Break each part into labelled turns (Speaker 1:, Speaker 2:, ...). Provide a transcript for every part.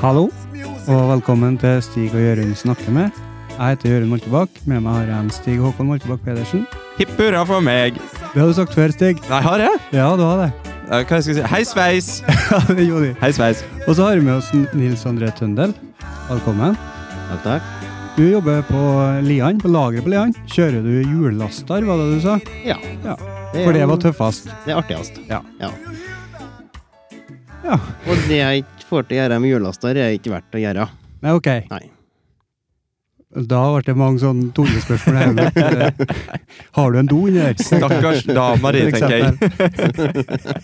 Speaker 1: Hallo, og velkommen til Stig og Jørund snakker med. Jeg heter Jørund Moltebakk. Med meg har jeg en Stig Håkon Moltebakk Pedersen.
Speaker 2: Hipp hurra for meg.
Speaker 1: Det har du sagt før, Stig.
Speaker 2: Nei, har jeg?
Speaker 1: Ja, du har det.
Speaker 2: Eh, Hva skal jeg si? Hei, sveis!
Speaker 1: Ja, det gjorde de.
Speaker 2: Hei, sveis.
Speaker 1: Og så har vi med oss Nils André Tøndel. Velkommen.
Speaker 3: takk.
Speaker 1: Du jobber på Lian, på lageret på Lian. Kjører du hjullaster, var det du sa?
Speaker 3: Ja.
Speaker 1: Ja.
Speaker 3: er-
Speaker 1: For det var tøffest.
Speaker 3: Det er artigst.
Speaker 1: Ja.
Speaker 3: Ja.
Speaker 1: Ja.
Speaker 3: Og det jeg ikke får til å gjøre med hjullaster, er ikke verdt å gjøre.
Speaker 1: Nei, ok.
Speaker 3: Nei.
Speaker 1: Da ble det mange sånne tullespørsmål her. men, eh, Har du en do inni der?
Speaker 2: Stakkars dama di,
Speaker 1: For
Speaker 2: tenker jeg.
Speaker 1: eksempel.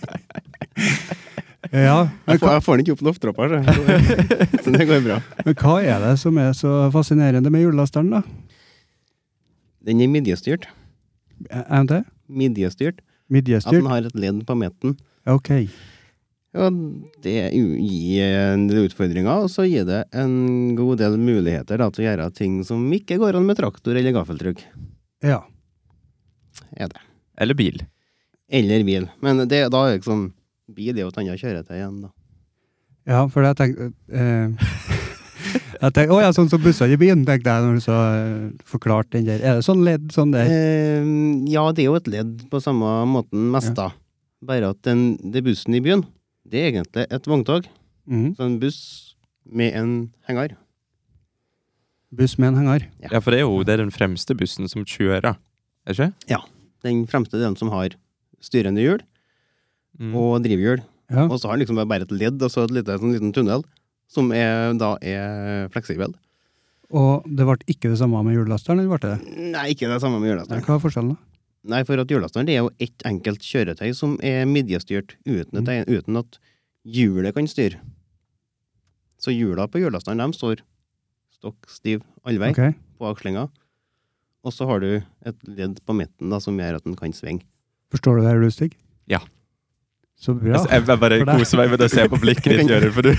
Speaker 1: ja, men
Speaker 3: Jeg får,
Speaker 1: hva,
Speaker 3: jeg får den ikke opp lofttroppa, så. så det går bra.
Speaker 1: men hva er det som er så fascinerende med hjullasteren, da?
Speaker 3: Den er midjestyrt.
Speaker 1: MT?
Speaker 3: Midjestyrt. At den
Speaker 1: Midjestyrt?
Speaker 3: har et ledd på midten.
Speaker 1: Ok.
Speaker 3: Og det u- gir en del utfordringer, og så gir det en god del muligheter da, til å gjøre ting som ikke går an med traktor eller gaffeltrykk.
Speaker 1: Ja.
Speaker 3: Er det.
Speaker 2: Eller bil.
Speaker 3: Eller bil. Men det, da er det liksom Bil er jo et annet kjøretøy igjen, da.
Speaker 1: ja, for jeg tenkte eh, jeg tenkte, Å ja, sånn som bussene i byen, tenkte jeg når du så eh, forklarte den der. Er det sånn ledd sånn der?
Speaker 3: Eh, ja, det er jo et ledd på samme måten mest, da. Bare at den, det bussen i byen, det er egentlig et vogntog.
Speaker 1: Mhm.
Speaker 3: Så en buss med en henger.
Speaker 1: Buss med en henger.
Speaker 2: Ja, for det er jo det er den fremste bussen som kjører. Er ikke?
Speaker 3: Den fremste delen som har styrende hjul
Speaker 2: Mm.
Speaker 3: og drivhjul.
Speaker 1: Ja.
Speaker 3: Og så har den liksom bare et ledd og så et lite, sånn liten tunnel, som er, da er fleksibel.
Speaker 1: Og det ble ikke det samme med hjullasteren, eller ble det det?
Speaker 3: Nei, ikke det samme med
Speaker 1: Nei,
Speaker 3: hjullasteren.
Speaker 1: Hva er forskjellen, da?
Speaker 3: Nei, for at hjullasteren det er jo ett enkelt kjøretøy som er midjestyrt uten
Speaker 1: Mm.
Speaker 3: at, uten at hjulet kan styre. Så hjula på hjullasteren, de står stokk stiv alle vei
Speaker 1: Ok.
Speaker 3: på akslinga. Og så har du et ledd på midten da, som gjør at den kan svinge.
Speaker 1: Forstår du det her, du, Stig?
Speaker 2: Ja.
Speaker 1: Så
Speaker 3: Altså,
Speaker 1: bra.
Speaker 2: Altså, Jeg, jeg bare
Speaker 1: For det-
Speaker 2: koser meg med å se på blikket ditt, Jørund, for du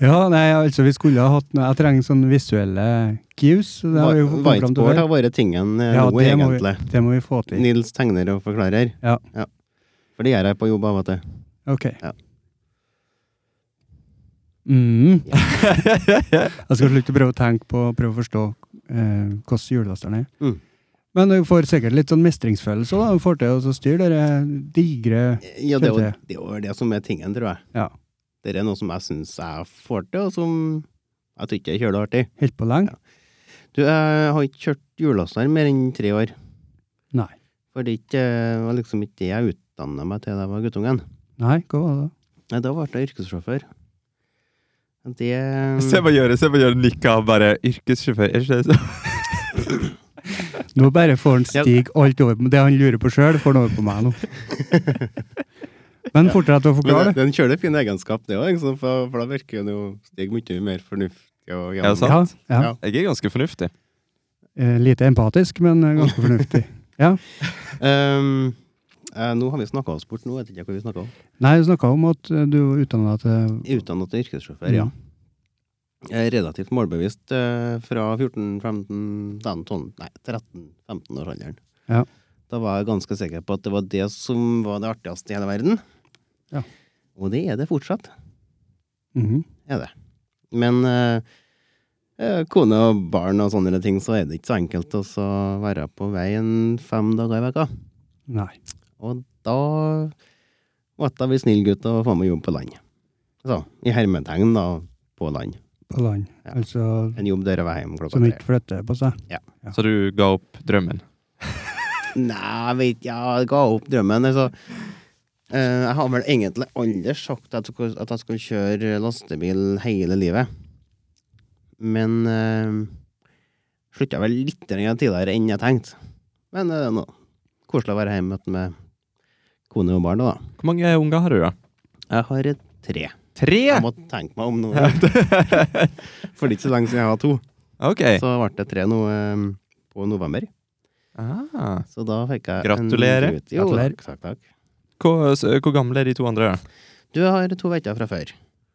Speaker 1: Ja, nei, altså vi skulle ha hatt noe- Jeg trenger sånne visuelle cues. Det har vi jo kommet fram til før.
Speaker 3: Whiteboard har vært tingen eh,
Speaker 1: Ja,
Speaker 3: nå,
Speaker 1: det må vi-
Speaker 3: egentlig.
Speaker 1: Det må vi få til.
Speaker 3: Nils tegner og forklarer.
Speaker 1: Ja.
Speaker 3: For det gjør jeg på jobb av og til.
Speaker 1: Ok.
Speaker 3: Ja.
Speaker 1: Mm. Jeg skal slutte å prøve å tenke på prøve å forstå eh, hvordan julelasteren er.
Speaker 3: Mm.
Speaker 1: Men du får sikkert litt sånn mestringsfølelse òg. Du får til å så styre de digre
Speaker 3: Ja, det er jo-
Speaker 1: Skjønte
Speaker 3: det er jo det som er tingen, tror jeg.
Speaker 1: Ja,
Speaker 3: Det er noe som jeg syns jeg får til, og som jeg tror ikke er kjøleartig.
Speaker 1: helt på lenge.
Speaker 3: Ja. Du, jeg har ikke kjørt hjullaster mer enn tre år.
Speaker 1: Nei.
Speaker 3: For det ikke, eh, var liksom ikke det jeg utdanna meg til da jeg var guttungen.
Speaker 1: Nei, hva var det?
Speaker 3: Nei, da ble jeg yrkessjåfør. Det
Speaker 2: Se på Jørund, se på Jørund nikke og bare Yrkessjåfør, er ikke det så?
Speaker 1: Nå bare får han
Speaker 3: Ja.
Speaker 1: Stig alt over på Det han lurer på sjøl, får han over på meg nå. Men fortsett å
Speaker 3: Men
Speaker 1: forklare.
Speaker 3: det- det er en kjølig fin egenskap, det òg, liksom, for, for da virker det jo Stig mye mer fornuftig og
Speaker 2: Ja, sant.
Speaker 1: Ja, ja.
Speaker 3: Ja.
Speaker 2: Jeg er ganske fornuftig.
Speaker 1: Eh, lite empatisk, men eh, ganske fornuftig.
Speaker 3: Ehm, eh, nå har vi snakka oss bort, nå vet jeg ikke hva vi snakka om.
Speaker 1: Nei, du snakka om at eh, du utdanna deg til
Speaker 3: Utdanna til yrkessjåfør, ja. Jeg er relativt målbevisst eh, fra 14-15-13 Nei, 13-15-årsalderen.
Speaker 1: Ja.
Speaker 3: Da var jeg ganske sikker på at det var det som var det artigste i hele verden.
Speaker 1: Ja.
Speaker 3: Og det er det fortsatt,
Speaker 1: Mhm.
Speaker 3: er det. Men eh, eh, kone og barn og sånne ting, så er det ikke så enkelt å så være på veien fem dager i veka.
Speaker 1: Nei.
Speaker 3: Og da måtte jeg bli snill gutt og få meg jobb på land. Så, i hermetegn, da, på land.
Speaker 1: På land.
Speaker 3: Ja.
Speaker 1: Altså
Speaker 3: En jobb der jeg var hjemme klokka
Speaker 1: som
Speaker 3: tre.
Speaker 1: ikke flytter på seg. Ja.
Speaker 2: Så du ga opp drømmen.
Speaker 3: Nei, jeg vet ikke, jeg ga opp drømmen. Altså, Eh, jeg har vel egentlig aldri sagt at jeg skulle- at jeg skulle kjøre lastebil hele livet. Men uh, slutta vel litt grann tidligere enn jeg tenkte. Men det er nå koselig å være hjemme med kone og barn, da.
Speaker 2: Hvor mange unger har du, da?
Speaker 3: Jeg har et tre.
Speaker 2: Tre!
Speaker 3: Jeg må tenke meg om nå. For det er ikke så lenge siden jeg har to.
Speaker 2: Ok.
Speaker 3: Så ble det tre nå eh, på november.
Speaker 2: Ah.
Speaker 3: Så da fikk jeg
Speaker 2: Gratulerer.
Speaker 3: En gutt. jo,
Speaker 1: Gratulerer.
Speaker 3: takk, takk, takk.
Speaker 2: Hvor, så, hvor gamle er de to andre? da?
Speaker 3: Du jeg har to vetter fra før.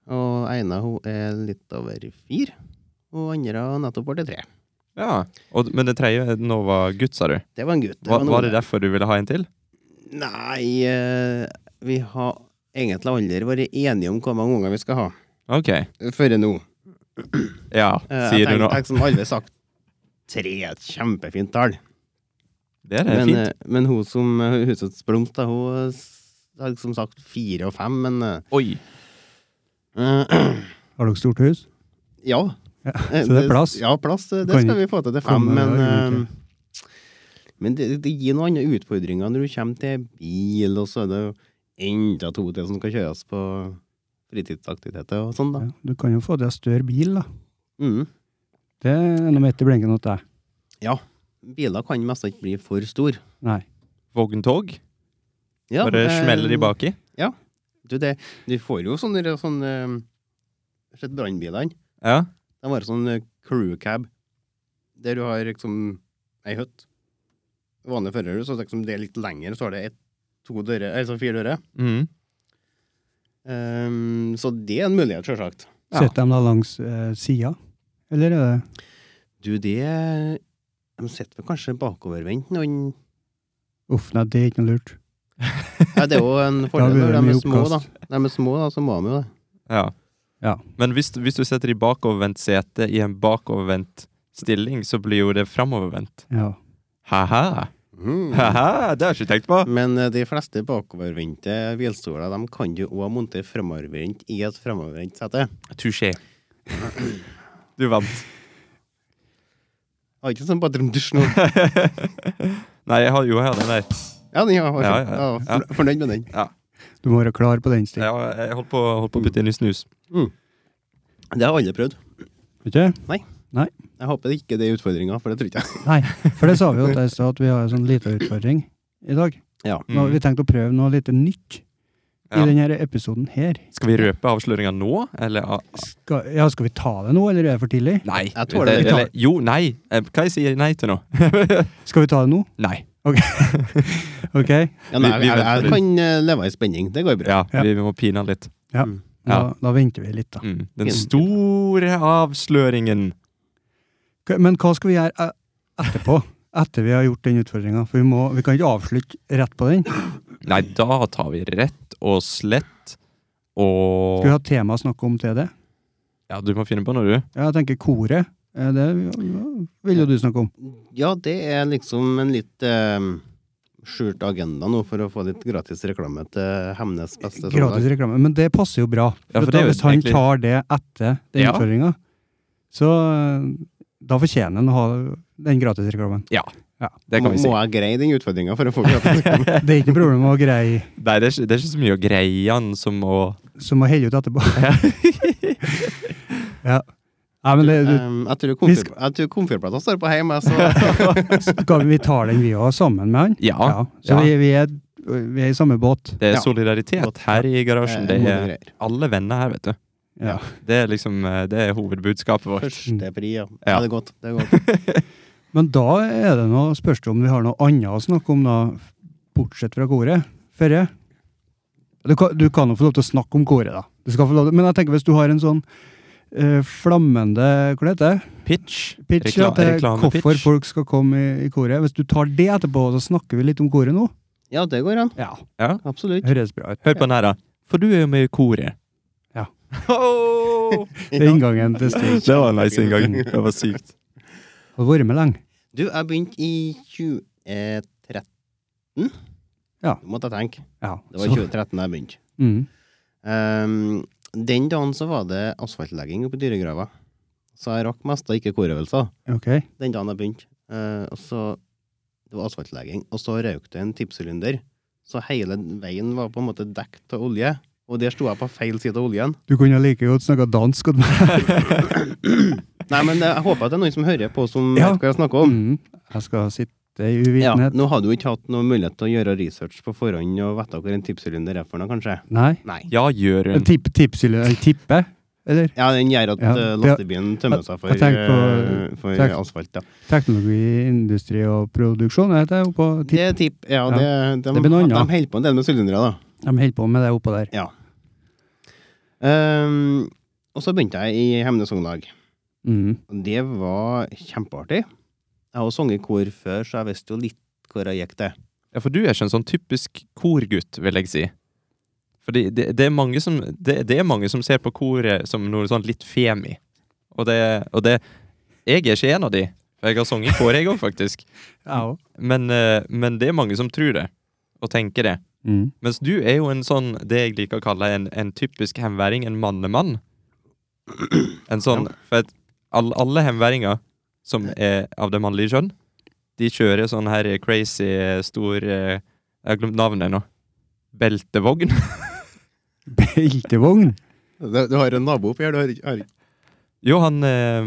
Speaker 3: Og ene hun er litt over fire. Og andre har nettopp ble tre.
Speaker 2: Ja. Og, men det tredje nå var gutt, sa du.
Speaker 3: Det var en gutt.
Speaker 2: Var,
Speaker 3: en
Speaker 2: var det
Speaker 3: unge.
Speaker 2: derfor du ville ha en til?
Speaker 3: Nei, eh, vi har egentlig aldri vært enige om hvor mange unger vi skal ha.
Speaker 2: OK.
Speaker 3: Før nå.
Speaker 2: Ja,
Speaker 3: Eh,
Speaker 2: sier
Speaker 3: jeg
Speaker 2: du nå.
Speaker 3: tenk- tenk som alle har sagt tre er et kjempefint tall.
Speaker 2: Det er
Speaker 3: Men,
Speaker 2: fint.
Speaker 3: eh, men hun som eh, Husets Blomst, da, hun s- har som sagt fire og fem, men eh,
Speaker 2: Oi.
Speaker 3: eh,
Speaker 1: Har dere stort hus?
Speaker 3: Ja.
Speaker 1: Ja,
Speaker 3: eh,
Speaker 1: så det er plass?
Speaker 3: Ja, plass. eh, Det
Speaker 1: Kan
Speaker 3: skal
Speaker 1: ikke
Speaker 3: vi få til til fem,
Speaker 1: komme
Speaker 3: men
Speaker 1: der,
Speaker 3: eh, Men det, det gir noen andre utfordringer når du kommer til bil, og så er det jo enda to til som skal kjøres på fritidsaktiviteter og sånn, da.
Speaker 1: Ja, du kan jo få deg større bil, da.
Speaker 3: Mm.
Speaker 1: Det er noe midt i blinken hos deg.
Speaker 3: Biler kan mest ikke bli for store.
Speaker 1: Nei.
Speaker 2: Vogntog.
Speaker 3: Ja,
Speaker 2: Bare
Speaker 3: eh,
Speaker 2: smeller de baki.
Speaker 3: Du, det, du får jo sånne, sånne eh, Sett brannbilene.
Speaker 2: Ja.
Speaker 3: Det var sånn eh, crew cab, der du har liksom ei hytt. Vanlig førerhus, og så liksom det er litt lengre, så har det ett, to dører, altså fire dører.
Speaker 2: Mm.
Speaker 3: Ehm, så det er en mulighet, sjølsagt.
Speaker 2: Ja.
Speaker 1: Sitter de da langs eh, sida? Eller er det
Speaker 3: Du, det De sitter vel kanskje bakovervendt, noen
Speaker 1: Uff, nei, det er ikke noe lurt.
Speaker 3: Nei, det er jo en
Speaker 1: Da
Speaker 3: fordel
Speaker 1: blir
Speaker 3: når
Speaker 1: det
Speaker 3: de er
Speaker 1: mye
Speaker 3: små, da.
Speaker 1: oppkast.
Speaker 3: Når de er små, da, så må de jo det.
Speaker 2: Ja.
Speaker 1: Ja.
Speaker 2: Men hvis, hvis du setter i bakovervendt sete i en bakovervendt stilling, så blir jo det framovervendt.
Speaker 1: Ja.
Speaker 2: Ha-ha.
Speaker 3: Mm.
Speaker 2: Ha-ha, det har jeg ikke tenkt på.
Speaker 3: Men eh, de fleste bakovervendte hvilstoler de kan du òg montere framovervendt i et framovervendt sete.
Speaker 2: Touché. Du vant.
Speaker 3: Har ikke sånn bare dusj nå.
Speaker 2: Nei, jeg har jo her den der.
Speaker 3: Ja, den har
Speaker 2: Ja,
Speaker 3: ja,
Speaker 2: ja,
Speaker 3: ja,
Speaker 2: ja.
Speaker 3: for- Fornøyd med den.
Speaker 1: Du må være klar på den stien.
Speaker 2: Jeg, jeg holdt, på, holdt på å putte inn i snus.
Speaker 3: Det har alle prøvd.
Speaker 1: Vet du?
Speaker 3: Jeg håper ikke det er utfordringa, for det tror ikke jeg.
Speaker 1: Nei, for det sa vi jo at, jeg sa at vi har en sånn liten utfordring i dag.
Speaker 3: Ja.
Speaker 1: Nå har vi tenkt å prøve noe litt nytt i
Speaker 2: Ja.
Speaker 1: denne episoden her.
Speaker 2: Skal vi røpe avsløringa nå, eller ah,
Speaker 1: Skal, ja, skal vi ta det nå, eller er det for tidlig?
Speaker 2: Nei.
Speaker 3: Jeg tåler det.
Speaker 2: Eller, jo, nei. Eh, Hva jeg sier jeg nei til nå?
Speaker 1: Skal vi ta det nå?
Speaker 2: Nei.
Speaker 1: Ok?
Speaker 3: Ja, nei,
Speaker 2: Vi- vi
Speaker 3: jeg, jeg,
Speaker 2: venter.
Speaker 3: kan eh, leve i spenning. Det går bra.
Speaker 2: Ja,
Speaker 1: Ja.
Speaker 2: vi, vi må pine han litt.
Speaker 1: Ja.
Speaker 3: Mm.
Speaker 1: Da,
Speaker 2: Ja.
Speaker 1: da venter vi litt, da.
Speaker 2: Mm. Den store avsløringen.
Speaker 1: K- Men hva skal vi gjøre eh, etterpå? Etter vi har gjort den utfordringa. For vi, må, vi kan ikke avslutte rett på den.
Speaker 2: Nei, da tar vi rett og slett og
Speaker 1: Skal vi ha tema å snakke om til det?
Speaker 2: Ja, du må finne på noe, du.
Speaker 1: Ja, Jeg tenker koret. eh, Det vil jo du snakke om.
Speaker 3: Ja, det er liksom en litt eh, skjult agenda nå, for å få litt gratis reklame til Hemnes beste
Speaker 1: Gratis
Speaker 3: sommerdag.
Speaker 1: reklame. Men det passer jo bra.
Speaker 2: Ja, for
Speaker 1: for
Speaker 2: det er
Speaker 1: da,
Speaker 2: jo
Speaker 1: hvis han
Speaker 2: egentlig-
Speaker 1: tar det etter den
Speaker 2: Ja.
Speaker 1: utfordringa, så eh, da fortjener han å ha den gratisreklamen.
Speaker 2: Det kan
Speaker 3: Må,
Speaker 2: vi si.
Speaker 3: må jeg greie den utfordringa for å få gratis reklame?
Speaker 1: Det er ikke noe problem å greie
Speaker 2: Nei, det er, ikke, det er ikke så mye å greie han som å
Speaker 1: som å helle ut etterpå. ja. Nei, men det, du,
Speaker 3: Um, jeg tror
Speaker 1: Vi
Speaker 3: komfyr-
Speaker 1: skal-
Speaker 3: jeg tror komfyrplata står på hjemme, så
Speaker 1: skal vi tar den vi òg, sammen med han.
Speaker 2: Ja.
Speaker 1: Så
Speaker 2: Ja.
Speaker 1: Vi, vi, er, vi er i samme båt.
Speaker 2: Det er
Speaker 3: Ja.
Speaker 2: solidaritet her i garasjen. Det
Speaker 3: Eh, gode
Speaker 2: er
Speaker 3: greier.
Speaker 2: alle venner her, vet du.
Speaker 1: Ja.
Speaker 2: Det er liksom eh, Det er hovedbudskapet vårt.
Speaker 3: Førstepri, ja.
Speaker 2: Ja.
Speaker 3: ja. Det er godt. Det er godt.
Speaker 1: Men da er det noe, spørs det om vi har noe annet å snakke om, da, bortsett fra koret. Førre. Du kan, du kan jo få lov til å snakke om koret, da. Du skal få lov til, men jeg tenker hvis du har en sånn eh, flammende Hva det heter det?
Speaker 2: Pitch.
Speaker 1: Pitch
Speaker 2: Rekla-
Speaker 1: ja, til
Speaker 2: reklamepitch.
Speaker 1: hvorfor folk skal komme i, i koret. Hvis du tar det etterpå, så snakker vi litt om koret nå.
Speaker 3: Ja, det går an.
Speaker 1: Ja,
Speaker 3: Absolutt.
Speaker 1: Høres bra ut.
Speaker 2: Hør på den her, da. For du er jo med i koret.
Speaker 1: Ja.
Speaker 2: Åh!
Speaker 1: Det er inngangen til Stig.
Speaker 2: Det var en nice inngang. Det var sykt.
Speaker 1: Har vært med lenge.
Speaker 3: Du, jeg begynte i 2013.
Speaker 1: Ja.
Speaker 3: Det måtte jeg tenke.
Speaker 1: Ja,
Speaker 3: Det var
Speaker 1: så-
Speaker 3: 2013 jeg begynte.
Speaker 1: Mm.
Speaker 3: Um, den dagen så var det asfaltlegging oppe i dyregrava. Så jeg rakk mest av ikke korøvelser
Speaker 1: Ok.
Speaker 3: den dagen jeg begynte. Eh, og så Det var asfaltlegging, og så røyk det en tippsylinder. Så hele veien var på en måte dekket av olje, og der sto jeg på feil side av oljen.
Speaker 1: Du kunne like godt snakka dansk. og-
Speaker 3: Nei, men eh, jeg håper at det er noen som hører på, som
Speaker 1: Ja.
Speaker 3: vet hva jeg snakker om.
Speaker 1: Mm. Jeg skal sitte i
Speaker 3: Ja,
Speaker 1: uvitenhet.
Speaker 3: nå har du ikke hatt noen mulighet til å gjøre research på forhånd og vite hvor en tipsylinder er for noe, kanskje?
Speaker 1: Nei.
Speaker 3: Nei.
Speaker 2: Ja, Jørund.
Speaker 3: Mm.
Speaker 1: En tipp, tips, eller en tippe? Eller?
Speaker 3: Ja, den gjør at
Speaker 1: Ja,
Speaker 3: eh,
Speaker 1: det-
Speaker 3: lastebilen tømmer seg for,
Speaker 1: jeg tenker på-
Speaker 3: eh, for
Speaker 1: tenk-
Speaker 3: asfalt, ja.
Speaker 1: Teknologi, industri og produksjon, heter det oppå
Speaker 3: Det
Speaker 1: tipp.
Speaker 3: er tipp. Ja,
Speaker 1: Ja.
Speaker 3: det, de,
Speaker 1: Det blir noe
Speaker 3: de
Speaker 1: annet.
Speaker 3: holder på en del med sylindere, da.
Speaker 1: De holder på med det oppå der.
Speaker 3: Ehm, og så begynte jeg i Hemnes Unglag.
Speaker 1: Mm.
Speaker 3: Og Det var kjempeartig. Jeg har jo sunget i kor før, så jeg visste jo litt hvor jeg gikk til.
Speaker 2: Ja, for du er ikke en sånn typisk korgutt, vil jeg si. Fordi det, det, er mange som, det, det er mange som ser på koret som noe sånn litt femi. Og det, og det Jeg er ikke en av de. For jeg har sunget i kor, jeg òg, faktisk.
Speaker 1: Jeg òg.
Speaker 2: Men, eh, men det er mange som tror det, og tenker det.
Speaker 1: Mm.
Speaker 2: Mens du er jo en sånn, det jeg liker å kalle en, en typisk hemværing, en mannemann. En sånn, for at alle, alle hemværinger som er av det mannlige kjønn, de kjører sånn her crazy stor, eh, jeg har glemt navnet nå, beltevogn.
Speaker 1: Beltevogn?
Speaker 3: Du, du har en nabo oppi her, du har ikke har ikke-
Speaker 2: Jo, han, eh,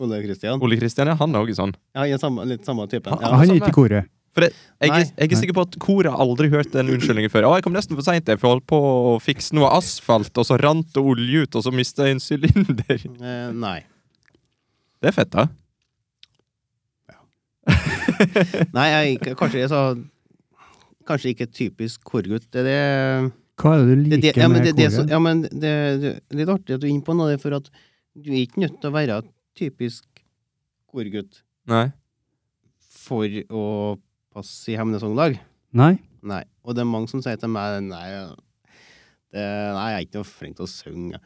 Speaker 3: Ole Kristian?
Speaker 2: Ole Kristian, ja, han er også sånn.
Speaker 3: Ja, han er samme, litt samme typen.
Speaker 2: Han-
Speaker 3: Ja.
Speaker 1: Han er
Speaker 2: samme.
Speaker 1: ikke i koret.
Speaker 2: Jeg, er-
Speaker 3: Nei.
Speaker 2: jeg er sikker på at koret har aldri hørt den unnskyldningen før. Å, jeg kom nesten for seint, for jeg holdt på å fikse noe asfalt, og så rant det olje ut, og så mista jeg en sylinder.
Speaker 3: Eh, nei.
Speaker 2: Det er fett, da.
Speaker 3: Nei, jeg, kanskje jeg sa Kanskje ikke typisk korgutt. Det er det
Speaker 1: Hva er det du
Speaker 3: det,
Speaker 1: liker
Speaker 3: det, ja, men
Speaker 1: med
Speaker 3: det, det, som-
Speaker 1: koret?
Speaker 3: ja, men det, det er litt artig at du er inne på noe, for at du er ikke nødt til å være typisk korgutt
Speaker 2: Nei.
Speaker 3: for å passe i Hemnesonglag.
Speaker 1: Nei?
Speaker 3: Nei. Og det er mange som sier til meg nei, det, nei jeg er ikke noe flink til å synge.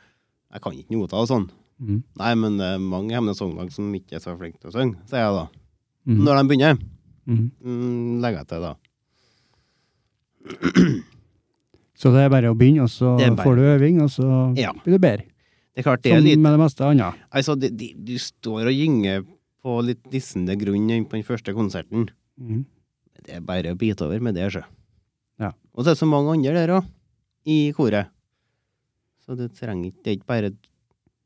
Speaker 3: Jeg kan ikke noter og sånn.
Speaker 1: Mm.
Speaker 3: Nei, men det er mange Hemnesonglag som ikke er så flinke til å synge, sier jeg da.
Speaker 1: Mm.
Speaker 3: Når de begynner,
Speaker 1: Mm.
Speaker 3: mm, legger jeg til da.
Speaker 1: Så det er bare å begynne, og så
Speaker 3: Det er bare-
Speaker 1: får du øving, og så
Speaker 3: Ja.
Speaker 1: blir det bedre.
Speaker 3: Det er klart det er
Speaker 1: Som
Speaker 3: litt
Speaker 1: med det meste annet.
Speaker 3: Altså, det, de, du står og gynger på litt dissende grunn inn på den første konserten.
Speaker 1: Mm.
Speaker 3: Det er bare å bite over med det, sjø.
Speaker 1: Ja.
Speaker 3: Og så er det så mange andre der òg, i koret. Så det trenger ikke Det er ikke bare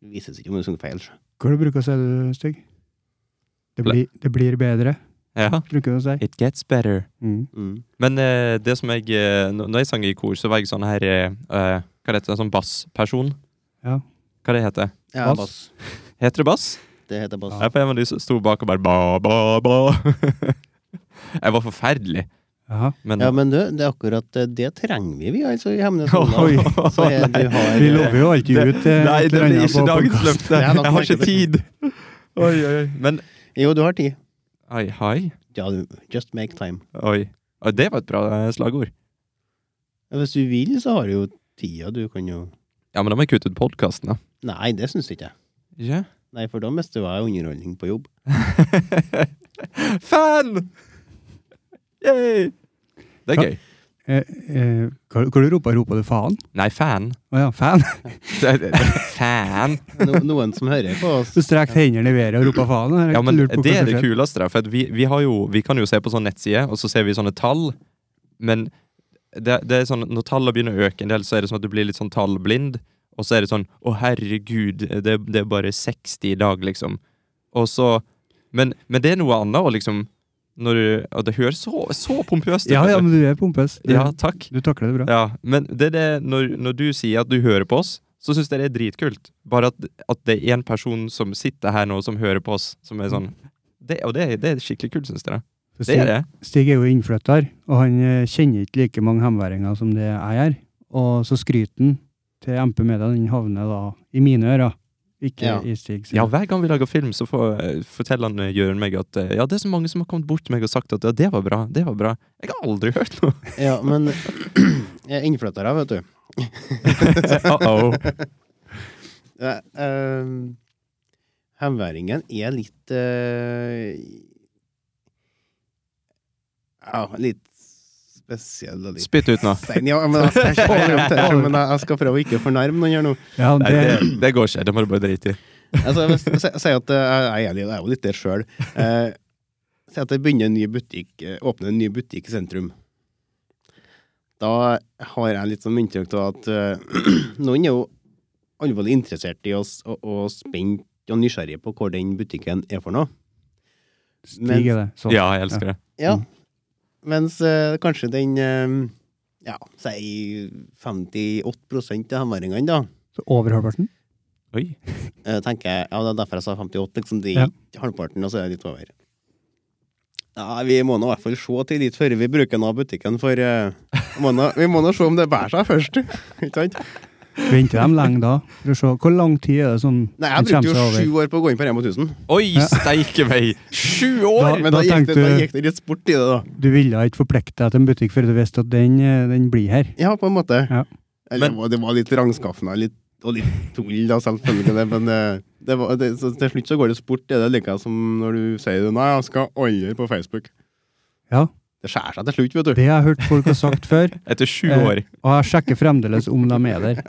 Speaker 3: Det vises ikke om du synger feil, sjø.
Speaker 1: Hva er det du bruker å si, du, Stig? Det blir, det blir bedre,
Speaker 2: Ja.
Speaker 1: bruker du å si.
Speaker 2: It gets better.
Speaker 1: Mm.
Speaker 3: Mm.
Speaker 2: Men eh, det som jeg eh, n- Når jeg sang i kor, så var jeg sånn her eh, eh, Hva heter det? Sånn bassperson?
Speaker 1: Ja.
Speaker 2: Hva det heter
Speaker 3: Ja,
Speaker 1: Bass.
Speaker 3: bass.
Speaker 2: Heter det bass?
Speaker 3: Det heter bass.
Speaker 1: Ja.
Speaker 2: Jeg, var de som sto bak og bare ba, ba, ba. jeg var forferdelig,
Speaker 1: Jaha.
Speaker 2: men,
Speaker 3: Ja, men du, det er akkurat det, det trenger vi, vi, altså, i Hemnes
Speaker 1: Oi.
Speaker 3: Så er, du har
Speaker 1: Vi lover jo alltid
Speaker 2: Det-
Speaker 1: ut eh,
Speaker 2: Nei,
Speaker 1: et
Speaker 2: det
Speaker 1: eller
Speaker 2: blir
Speaker 1: annet
Speaker 2: ikke
Speaker 1: på
Speaker 2: dagens
Speaker 1: podcast.
Speaker 2: løfte.
Speaker 3: Jeg har lagt
Speaker 2: Jeg har
Speaker 3: merke
Speaker 2: ikke tid. Oi, oi, oi. Men
Speaker 3: eh, Jo, du har tid.
Speaker 2: Oi, hei.
Speaker 3: Ja, du, just make time.
Speaker 2: Oi. Oi, Det var et bra eh, slagord.
Speaker 3: Ja, Hvis du vil, så har du jo tida. Du kan jo
Speaker 2: Ja, men da må jeg kutte ut podkasten, da.
Speaker 3: Nei, det syns ikke jeg.
Speaker 2: Ja.
Speaker 3: Nei, for da mister jeg underholdning på jobb.
Speaker 2: Fan! Yay! Det er
Speaker 1: Ja.
Speaker 2: gøy.
Speaker 1: Eh, eh, hva, hva du roper roper du faen?
Speaker 2: Nei, fan.
Speaker 1: Å ja, fan.
Speaker 2: fan.
Speaker 3: No, noen som hører på oss.
Speaker 1: Du strekte hendene i været og ropa faen. Jeg har
Speaker 2: Ja, men
Speaker 1: lurt på hva
Speaker 2: det er
Speaker 1: som
Speaker 2: det
Speaker 1: skjer.
Speaker 2: kuleste, da, for at vi, vi, har jo, vi kan jo se på sånn nettside, og så ser vi sånne tall, men det, det er sånn, når tallene begynner å øke en del, så er det sånn at du blir litt sånn tallblind, og så er det sånn, å herregud, det, det er bare 60 i dag, liksom. Og så, men, men det er noe annet, og liksom, når du, og det høres så, så pompøst ut.
Speaker 1: Ja, ja, men du er pompøs. Du,
Speaker 2: ja, takk.
Speaker 1: du takler det bra.
Speaker 2: Ja, men det er det, når, når du sier at du hører på oss, så syns jeg det er dritkult. Bare at, at det er én person som sitter her nå, som hører på oss, som er sånn det, Og det, det er skikkelig kult, syns dere.
Speaker 1: Så
Speaker 2: Det
Speaker 1: Stig,
Speaker 2: er det.
Speaker 1: Stig er jo innflytter, og han eh, kjenner ikke like mange hemværinger som det jeg gjør. Og så skryten til MP Media den havner da i mine ører, ikke
Speaker 3: Ja.
Speaker 1: i Stigs.
Speaker 2: Ja, hver gang vi lager film, så får, eh, forteller han eh, Jørund meg at eh, ja, det er så mange som har kommet bort til meg og sagt at ja, det var bra, det var bra. Jeg har aldri hørt noe.
Speaker 3: Ja, men jeg er innflyttere, vet du.
Speaker 2: Uh-oh.
Speaker 3: Eh, ehm, Hemværingen er litt eh, Ja, litt spesiell og litt
Speaker 2: Spytt ut nå.
Speaker 3: sein. Ja, men jeg, jeg, skal prøve å- men jeg, jeg skal prøve å ikke fornærme noen her nå.
Speaker 1: Ja,
Speaker 2: Nei,
Speaker 1: det,
Speaker 2: det, det går ikke. Det må du bare drite i.
Speaker 3: Altså, hvis- si si at eh, jeg er litt- jeg er jo litt der sjøl. Si at jeg begynner en ny butikk, eh, åpner en ny butikk i sentrum. Da har jeg litt sånn inntrykk av at eh, noen er jo alvorlig interessert i oss og, og spent og nysgjerrig på hvor den butikken er for noe.
Speaker 1: Stig er det. Sånn.
Speaker 2: Ja, jeg elsker det.
Speaker 3: Ja.
Speaker 1: Mm.
Speaker 3: Mens eh, kanskje den eh, ja, si 58 av hemværingene, da,
Speaker 1: Så over halvparten?
Speaker 2: Oi.
Speaker 3: Eh, tenker jeg, ja, Det er derfor jeg sa 58. liksom Det
Speaker 1: Ja.
Speaker 3: er ikke halvparten, og så er det litt over. Ja, Vi må nå i hvert fall se til dit før vi bruker den av butikken, for eh, må nå, vi må nå se om det bærer seg først. Ikke sant?
Speaker 1: Venter de lenge da? For å se, hvor lang tid er det sånn
Speaker 3: Nei, Jeg brukte jo sju år på å gå inn på Rema 1000,
Speaker 2: Oi, steike meg! Sju år!
Speaker 3: men
Speaker 1: da
Speaker 3: da, gikk
Speaker 1: tenkte
Speaker 3: det, da
Speaker 1: du-
Speaker 3: gikk det litt sport i det, da.
Speaker 1: Du ville ikke forplikte deg til en butikk før du visste at den, eh, den blir her.
Speaker 3: Ja, på en måte.
Speaker 1: Ja.
Speaker 2: Men-
Speaker 3: Eller, det var- det var litt rangskaffende litt, og litt tull, da, selvfølgelig. Det, men eh, det var, det, så, til slutt så går det sport. Det er det like som når du sier Nei, jeg skal aldri på Facebook.
Speaker 1: Ja,
Speaker 3: Det skjærer seg til slutt, vet du.
Speaker 1: det har jeg hørt folk har sagt før,
Speaker 2: Etter sju
Speaker 1: Eh,
Speaker 2: år.
Speaker 1: og jeg sjekker fremdeles om de er der.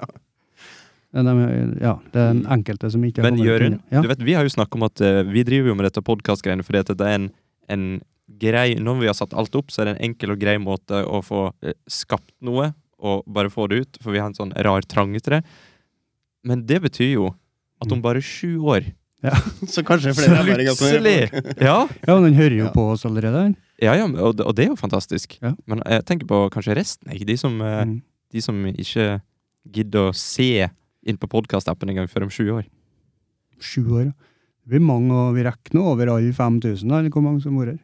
Speaker 1: Men de- Ja, det er en enkelte som ikke har
Speaker 2: Men
Speaker 1: kommet
Speaker 2: Jørund,
Speaker 1: inn. ja.
Speaker 2: du vet, vi har jo snakket om at eh, vi driver jo med dette podkastgreiene fordi at det er en, en grei Når vi har satt alt opp, så er det en enkel og grei måte å få eh, skapt noe og bare få det ut, for vi har en sånn rar trang til det. Men det betyr jo at om bare sju år
Speaker 3: Så kanskje
Speaker 2: Så
Speaker 3: flere er bare ganske-
Speaker 2: plutselig! Ja,
Speaker 1: ja, men den hører jo
Speaker 3: Ja.
Speaker 1: på oss allerede. den.
Speaker 2: ja, ja og, det- og det er jo fantastisk.
Speaker 1: Ja.
Speaker 2: Men eh, jeg tenker på kanskje resten, ikke? De som, eh,
Speaker 1: Mm.
Speaker 2: de som ikke gidder å se inn på podkastappen engang før om sju år.
Speaker 1: Sju år. ja. Det blir mange, og vi rekker nå over alle 5000, da, eller hvor mange som bor her.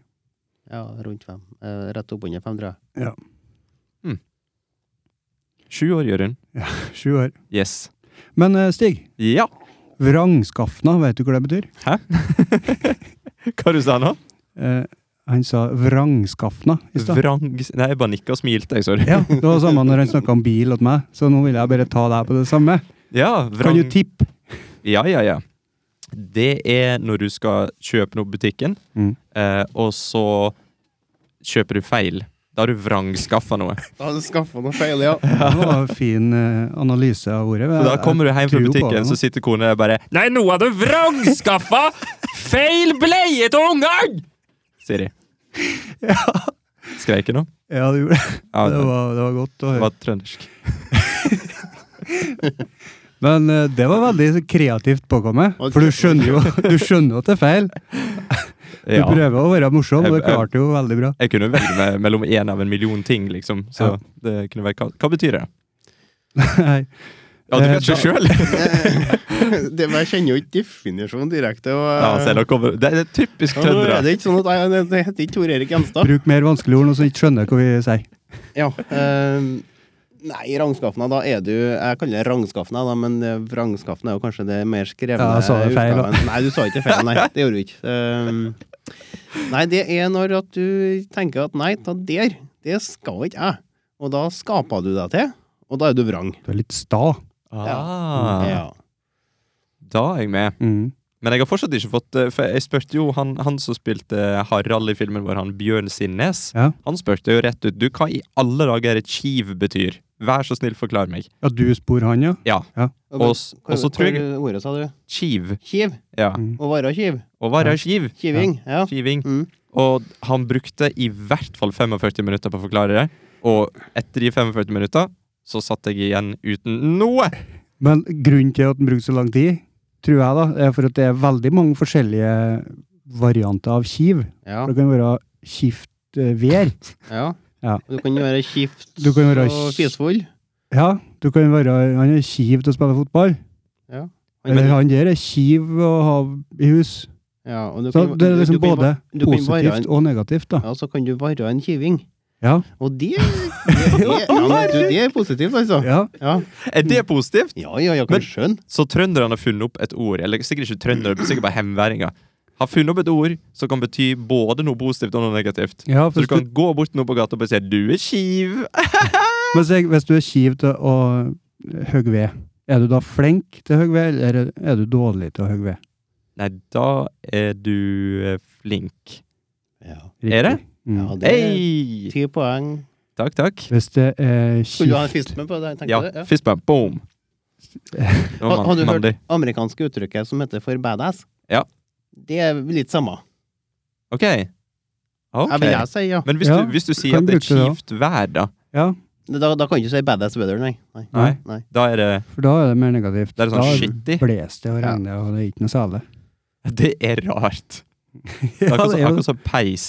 Speaker 3: Ja, rundt fem. Eh, rett oppunder fem, tror jeg.
Speaker 2: Sju år, Jørund.
Speaker 1: Sju år.
Speaker 2: Yes.
Speaker 1: Men eh, Stig,
Speaker 2: Ja!
Speaker 1: vrangskafna, vet du hva det betyr?
Speaker 2: Hva du sa du nå?
Speaker 1: Eh, han sa vrangskafna i stad.
Speaker 2: Vrang Nei, jeg bare nikka og smilte, jeg, sorry.
Speaker 1: Ja, det var samme når han snakka om bil til meg, så nå vil jeg bare ta deg på det samme.
Speaker 2: Ja,
Speaker 1: Kan
Speaker 2: vrang
Speaker 1: du tippe?
Speaker 2: Ja, ja, ja. Det er når du skal kjøpe noe på butikken,
Speaker 1: Mm.
Speaker 2: eh, og så kjøper du feil. Da har du vrangskaffa noe.
Speaker 3: Da hadde du skaffa noe feil, ja.
Speaker 1: Det var en fin eh, analyse av ordet.
Speaker 2: Så da kommer du hjem fra
Speaker 1: tror på
Speaker 2: butikken,
Speaker 1: det nå.
Speaker 2: så sitter kona der bare Nei, nå har du vrangskaffa feil bleie til ungene! Sier de. Skreik jeg nå?
Speaker 1: Ja, du gjorde det.
Speaker 2: Ja,
Speaker 1: Det
Speaker 2: det
Speaker 1: var, det var godt å høre.
Speaker 2: var trøndersk.
Speaker 1: Men eh, det var veldig kreativt påkommet, for du skjønner jo du skjønner jo at det er feil. Du
Speaker 2: Ja.
Speaker 1: prøver å være morsom, og det
Speaker 2: Jeg- jeg-
Speaker 1: klarte jo veldig bra.
Speaker 2: Jeg kunne velge meg mellom én av en million ting, liksom. Så
Speaker 1: Ja.
Speaker 2: det kunne være Hva, hva betyr det?
Speaker 1: Nei.
Speaker 2: Ja, du
Speaker 1: Eh,
Speaker 2: vet ikke sjøl!
Speaker 3: det, men jeg kjenner jo ikke definisjonen direkte. Og,
Speaker 2: Ja, se, da kommer- det er typisk
Speaker 3: Ja, nå er
Speaker 2: trøndere.
Speaker 3: det ikke sånn at jeg, det- det heter ikke Tor Erik Gjenstad.
Speaker 1: Bruk mer vanskelige ord, nå så jeg ikke skjønner hva vi sier.
Speaker 3: Ja. ehm, nei, rangskaffene, da er du Jeg kaller det rangskaffene, da, men eh, vrangskaffene er jo kanskje det mer skrevne.
Speaker 1: Ja, jeg sa det feil, da.
Speaker 3: utgaven. Nei, du sa ikke feil, nei. Det gjorde du ikke. Ehm, nei, det er når at du tenker at nei, da der, det skal ikke jeg. Og da skaper du deg til, og da er du vrang.
Speaker 1: Du er litt sta.
Speaker 2: Ah,
Speaker 3: Ja.
Speaker 2: Da er jeg med.
Speaker 1: Mm.
Speaker 2: Men jeg har fortsatt ikke fått eh, For jeg spurte jo han, han som spilte Harald i filmen vår, han Bjørn Sinnes.
Speaker 1: Ja.
Speaker 2: Han spurte jo rett ut Du, hva i alle dager er chiv betyr? Vær så snill, forklar meg.
Speaker 1: Ja, du spor han, ja?
Speaker 2: Ja. Og, s- og så tror jeg
Speaker 3: Hva ordet sa du?
Speaker 2: chiv.
Speaker 3: Kiv?
Speaker 2: Ja.
Speaker 1: Mm.
Speaker 3: Å være kiv?
Speaker 2: Og hva er chiv?
Speaker 3: Kiving? Ja.
Speaker 2: Kiving.
Speaker 3: Mm.
Speaker 2: Og han brukte i hvert fall 45 minutter på å forklare det. Og etter de 45 minutter så satt jeg igjen uten noe!
Speaker 1: Men grunnen til at den bruker så lang tid, tror jeg da, er for at det er veldig mange forskjellige varianter av kiv.
Speaker 3: ja.
Speaker 1: Det kan være skift eh, vær.
Speaker 3: ja.
Speaker 1: Ja.
Speaker 3: Du kan jo være kjipt
Speaker 1: Du kan være
Speaker 3: og
Speaker 1: kj-
Speaker 3: fisfull.
Speaker 1: Ja, du kan være, han er kiv til å spille fotball.
Speaker 3: Ja.
Speaker 1: Eller han der er kiv å ha i hus.
Speaker 3: Ja, og du
Speaker 1: Så
Speaker 3: kan,
Speaker 1: det er
Speaker 3: du-
Speaker 1: liksom
Speaker 3: du kan
Speaker 1: både
Speaker 3: va- du kan være
Speaker 1: positivt og negativt, da.
Speaker 3: Ja, så kan du være en kiving.
Speaker 1: Ja.
Speaker 3: Og det, det, det, ja, men du, det er positivt, altså.
Speaker 1: ja.
Speaker 3: Ja,
Speaker 2: Er det positivt?
Speaker 3: ja, ja jeg kan
Speaker 2: Men-
Speaker 3: skjønne.
Speaker 2: Så trønderne har funnet opp et ord, eller sikkert ikke trøndere, men sikkert bare hemværinger, har funnet opp et ord som kan bety både noe positivt og noe negativt.
Speaker 1: ja
Speaker 2: Så du
Speaker 1: hvis,
Speaker 2: kan
Speaker 1: du,
Speaker 2: gå bort til noen på gata og bare si 'du er skiv'.
Speaker 1: hvis, jeg, hvis du er kiv til å hogge ved, er du da flink til å hogge ved, eller er du dårlig til å hogge ved?
Speaker 2: Nei, da er du eh, flink.
Speaker 3: Ja,
Speaker 2: Er det?
Speaker 1: Mm.
Speaker 3: ja det er
Speaker 2: Hei!
Speaker 3: ti poeng.
Speaker 2: Takk, takk.
Speaker 1: Hvis det er
Speaker 3: Skulle du ha en
Speaker 1: skift
Speaker 3: fist med på det? tenkte
Speaker 2: Ja,
Speaker 3: du det?
Speaker 2: fist bump. Boom. Det var
Speaker 3: Har, har du
Speaker 2: man-
Speaker 3: hørt
Speaker 2: mandig.
Speaker 3: amerikanske uttrykket som heter for badass?
Speaker 2: Ja.
Speaker 3: Det er litt samme.
Speaker 2: OK.
Speaker 3: Jeg vil
Speaker 2: ok.
Speaker 3: jeg si, ja.
Speaker 2: Men hvis,
Speaker 1: Ja,
Speaker 2: du, hvis du sier
Speaker 1: kan
Speaker 2: at det er
Speaker 1: bruke det,
Speaker 2: kjipt vær, da,
Speaker 1: Ja,
Speaker 3: Da, da kan du ikke si badass weather, nei. Nei.
Speaker 2: Nei. da er det,
Speaker 1: for da er det mer negativt.
Speaker 2: da er det sånn skittig.
Speaker 1: Da blåser det og regner, og det er ikke noe særlig.
Speaker 2: Det er rart. Det er
Speaker 1: det
Speaker 2: akkurat som-
Speaker 1: er jo-
Speaker 2: akkurat som peis.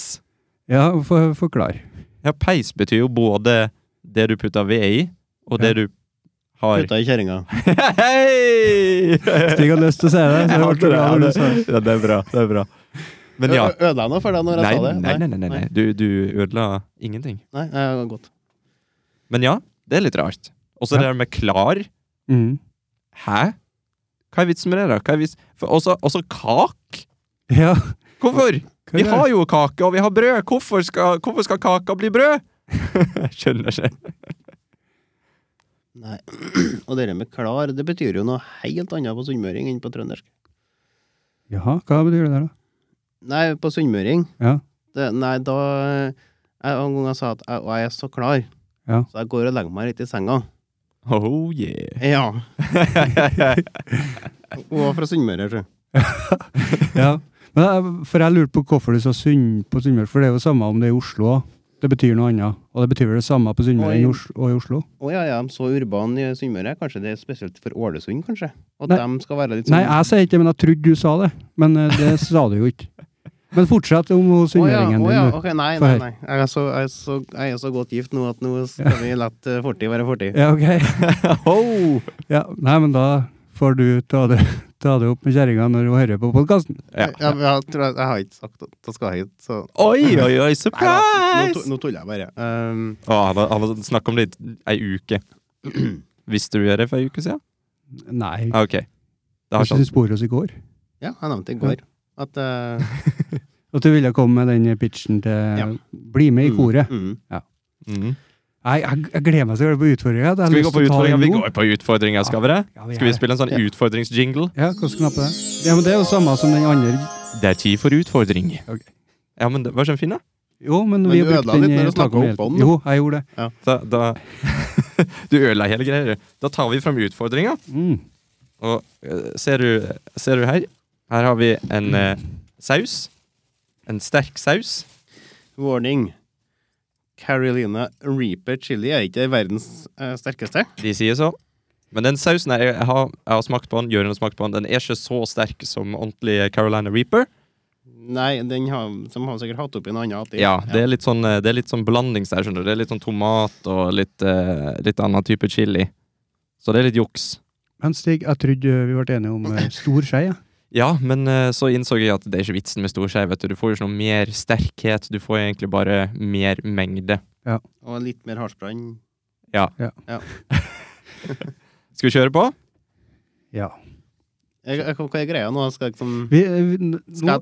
Speaker 1: Ja, for, forklar.
Speaker 2: Ja, peis betyr jo både det du putter ved i, og det
Speaker 1: Ja.
Speaker 2: du har
Speaker 3: Putta i kjerringa.
Speaker 2: Hei!
Speaker 1: Stig hadde lyst til å si det. Så
Speaker 2: Jeg
Speaker 1: det
Speaker 2: hadde
Speaker 1: ble bra når du sa det.
Speaker 2: Ja, det er bra. Det er bra. Men ja.
Speaker 3: Ø- ø- Ødela jeg noe for deg når jeg
Speaker 2: Nei,
Speaker 3: sa det?
Speaker 2: nei, nei. nei, nei. Du, du ødela ingenting.
Speaker 3: Nei, nei, godt.
Speaker 2: Men ja, det er litt rart. Og så
Speaker 1: Ja.
Speaker 2: det der med klar.
Speaker 1: Mm.
Speaker 2: Hæ? Hva er vitsen med det, da? Hva er vits- For også, også kak?
Speaker 1: Ja. hva
Speaker 2: Hvorfor?
Speaker 1: er
Speaker 2: Vi
Speaker 1: det?
Speaker 2: har jo kake, og vi har brød. Hvorfor skal, hvorfor skal kaka bli brød? Jeg Skjønner ikke.
Speaker 3: Nei. Og det der med klar, det betyr jo noe helt annet på sunnmøring enn på trøndersk.
Speaker 1: Jaha, hva betyr det der, da?
Speaker 3: Nei, på sunnmøring
Speaker 1: Ja.
Speaker 3: det, Nei, da jeg, En gang jeg sa at jeg, og jeg er så klar,
Speaker 1: Ja.
Speaker 3: så jeg går og legger meg litt i senga.
Speaker 2: Oh yeah.
Speaker 3: Ja. Hun var fra Sunnmøre, tror jeg.
Speaker 1: ja. Men jeg, for jeg lurte på hvorfor du sa Sunn på Sunnmøre, for det er jo samme om det er i Oslo også. Det betyr noe annet. Og det betyr vel det samme på Sunnmøre enn i Os- og i Oslo?
Speaker 3: Å ja, ja, så urban i Sunnmøre. Kanskje det er spesielt for Ålesund, kanskje? At
Speaker 1: Nei.
Speaker 3: de skal være litt sånn-
Speaker 1: Nei, jeg sier ikke det, men jeg trodde du sa det. Men eh, det sa du jo ikke. Men fortsett om hun
Speaker 3: Å ja,
Speaker 1: sunnmøringen
Speaker 3: å ja,
Speaker 1: din. du.
Speaker 3: ok, nei,
Speaker 1: Få
Speaker 3: nei,
Speaker 1: høre.
Speaker 3: nei. Jeg er, så, jeg, er så, jeg er så godt gift nå at nå skal vi la eh, fortid være fortid.
Speaker 1: Ja, ok.
Speaker 2: Oh.
Speaker 1: Ja, nei, men da får du ta det, ta det opp med kjerringa når hun hører på podkasten.
Speaker 2: Ja.
Speaker 3: Jeg, jeg, jeg, tror jeg, jeg har ikke sagt at jeg skal hit, så
Speaker 2: Oi, oi, oi,
Speaker 3: Nei da, nå, to-
Speaker 2: surprise!
Speaker 3: nå tuller jeg bare. Ehm,
Speaker 2: Å, han, har, han har snakket om det i ei uke. Visste du det for ei uke siden?
Speaker 1: Nei,
Speaker 2: Ah, ok. Det har
Speaker 1: jeg
Speaker 2: ikke
Speaker 1: syns spor oss i går.
Speaker 3: ja, jeg nevnte det i går. At eh,
Speaker 1: At du ville komme med den pitchen til
Speaker 3: Ja.
Speaker 1: Bli med i koret.
Speaker 3: Mm, mm.
Speaker 2: mm.
Speaker 1: Nei, jeg, jeg gleder meg så veldig på utfordringa.
Speaker 2: Skal vi gå på utfordringer? Vi går på utfordringer, skal vi det? Skal vi spille en sånn
Speaker 1: Ja.
Speaker 2: utfordringsjingle?
Speaker 1: Ja, hva skal knappe det? Ja, men Det er jo samme som den andre.
Speaker 2: Det er tid for utfordring.
Speaker 1: Ok.
Speaker 2: Ja, men det var sånn fin, da.
Speaker 1: Jo, men,
Speaker 3: Men
Speaker 1: vi har
Speaker 3: du
Speaker 1: brukt
Speaker 3: ødela litt
Speaker 1: den
Speaker 3: når
Speaker 1: i
Speaker 3: du snakket
Speaker 1: taket.
Speaker 3: opp om den.
Speaker 1: Jo, jeg gjorde det.
Speaker 2: da, da Du ødela hele greia. du. Da tar vi fram utfordringa.
Speaker 1: Mm.
Speaker 2: Og eh, ser du, ser du her? Her har vi en eh, saus. En sterk saus.
Speaker 3: Warning. Carolina Reaper chili er ikke verdens eh, sterkeste.
Speaker 2: De sier så. Men den sausen her, jeg har, jeg har smakt på den, Jørund har smakt på den, den er ikke så sterk som ordentlig Carolina Reaper.
Speaker 3: Nei, den har, som har sikkert hatt oppi noe annet. i.
Speaker 2: Ja, det er litt sånn, eh, det er litt sånn blandings der, skjønner du. Det er litt sånn tomat og litt, eh, litt annen type chili. Så det er litt juks.
Speaker 1: Men Stig, jeg trodde vi ble enige om eh, stor skei. Ja.
Speaker 2: Ja, men eh, så innså jeg at det er ikke vitsen med stor skei, vet du. Du får jo ikke noe mer sterkhet, du får egentlig bare mer mengde.
Speaker 3: Og litt mer hardsbrann.
Speaker 2: Skal vi kjøre på?
Speaker 1: Ja.
Speaker 3: Jeg, jeg, hva er greia nå? Skal jeg liksom
Speaker 1: Vi, eh, vi, n-
Speaker 3: skal
Speaker 1: nå,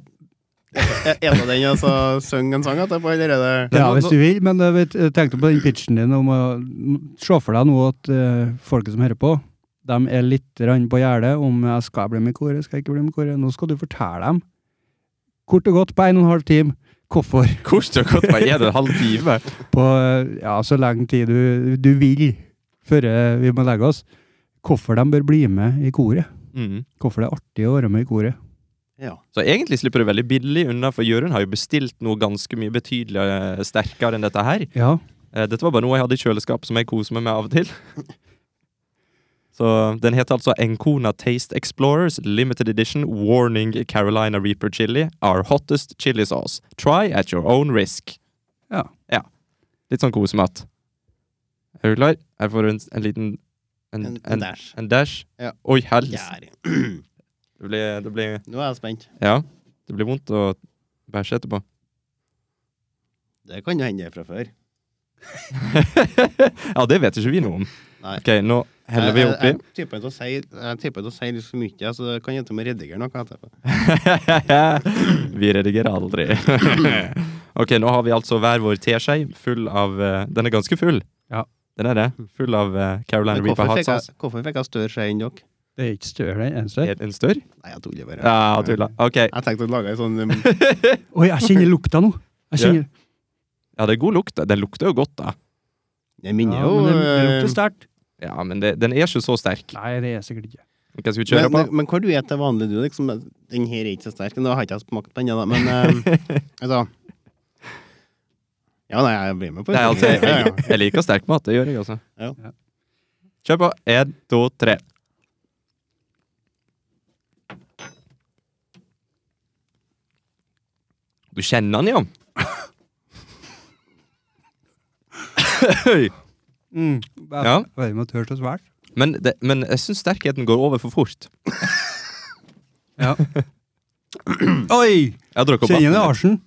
Speaker 3: jeg, er- er det den altså synge en sang etterpå, eller er det
Speaker 1: ja,
Speaker 2: nå-
Speaker 1: hvis du vil, men eh, jeg vet- jeg tenkte på den pitchen din om å n- se for deg nå at eh, folket som hører på, de er litt rann på gjerdet om jeg skal bli med i koret, skal jeg ikke bli med i koret. Nå skal du fortelle dem, kort og godt, på en og en halv time, hvorfor.
Speaker 2: Kort og godt, hva er det? En halv time?
Speaker 1: På eh, ja, så lenge tid du, du vil, før eh, vi må legge oss, hvorfor de bør bli med i koret.
Speaker 2: Mm.
Speaker 1: Hvorfor det er artig å være med i koret.
Speaker 3: Ja.
Speaker 2: Så egentlig slipper du veldig billig unna, for Jørund har jo bestilt noe ganske mye betydelig eh, sterkere enn dette her.
Speaker 1: Ja,
Speaker 2: Eh, Dette var bare noe jeg hadde i kjøleskap som jeg koser meg med av og til. Så den heter altså Encona Taste Explorers Limited Edition Warning Carolina Reaper Chili Our Hottest Chili Sauce Try at your own risk.
Speaker 1: Ja.
Speaker 2: Litt sånn kosemat. Er du klar? Her får du en, en liten En,
Speaker 3: En, en
Speaker 2: en,
Speaker 3: dash.
Speaker 2: en dash.
Speaker 3: Ja.
Speaker 2: Oi, hels!
Speaker 3: Gjæring.
Speaker 2: Det, blir, det blir
Speaker 3: Nå er jeg spent.
Speaker 2: Ja. Det blir vondt å bæsje etterpå.
Speaker 3: Det kan jo hende fra før.
Speaker 2: ja, det vet ikke vi noe om.
Speaker 3: Nei.
Speaker 2: Ok, nå heller vi
Speaker 3: Jeg-
Speaker 2: oppi.
Speaker 3: Jeg, jeg tipper til å si- jeg tipper til å si litt for mye, så det kan jeg til og med redigere noe etterpå.
Speaker 2: vi redigerer aldri. ok, nå har vi altså hver vår teskje full av eh, Den er ganske full.
Speaker 1: Ja.
Speaker 2: Den er det. Full av eh, Carolina
Speaker 3: Men
Speaker 2: Reaper
Speaker 3: Hvorfor
Speaker 2: hot
Speaker 3: fikk jeg,
Speaker 2: sauce.
Speaker 3: hvorfor fikk jeg større skje enn dere?
Speaker 1: det er ikke større enn eneste.
Speaker 2: Er det En større?
Speaker 3: Nei, jeg tuller bare.
Speaker 2: Ja, tulla. Ok.
Speaker 3: Jeg tenkte å lage en sånn um,
Speaker 1: Oi, jeg kjenner lukta nå. Jeg
Speaker 2: Ja.
Speaker 1: kjenner...
Speaker 2: Ja, det er god lukt. Den lukter jo godt, da.
Speaker 3: Jeg minner
Speaker 1: Ja,
Speaker 3: jo
Speaker 1: men det, det
Speaker 3: eh,
Speaker 1: lukter sterkt.
Speaker 2: Ja, men det, den er ikke så sterk.
Speaker 1: Nei, det er sikkert ikke.
Speaker 2: Ok, skal vi kjøre
Speaker 3: men,
Speaker 2: på?
Speaker 3: men, men hva du spiser til vanlig, du? liksom Den her er ikke så sterk. Nå har ikke jeg smakt på den ennå, men eh, altså Ja, nei, jeg blir med på
Speaker 2: Nei, altså,
Speaker 3: Ja, ja.
Speaker 2: jeg, jeg liker sterk mat. Det gjør jeg, altså.
Speaker 3: Ja.
Speaker 1: Ja.
Speaker 2: Kjør på. Én, to, tre. Du kjenner den jo. Oi.
Speaker 1: Mm.
Speaker 2: Ja.
Speaker 1: Veldig med tørt og svært.
Speaker 2: men, det, men jeg syns sterkheten går over for fort.
Speaker 1: Ja. Oi!
Speaker 2: Jeg drakk opp
Speaker 1: Kjenner
Speaker 2: vann.
Speaker 1: det arsen?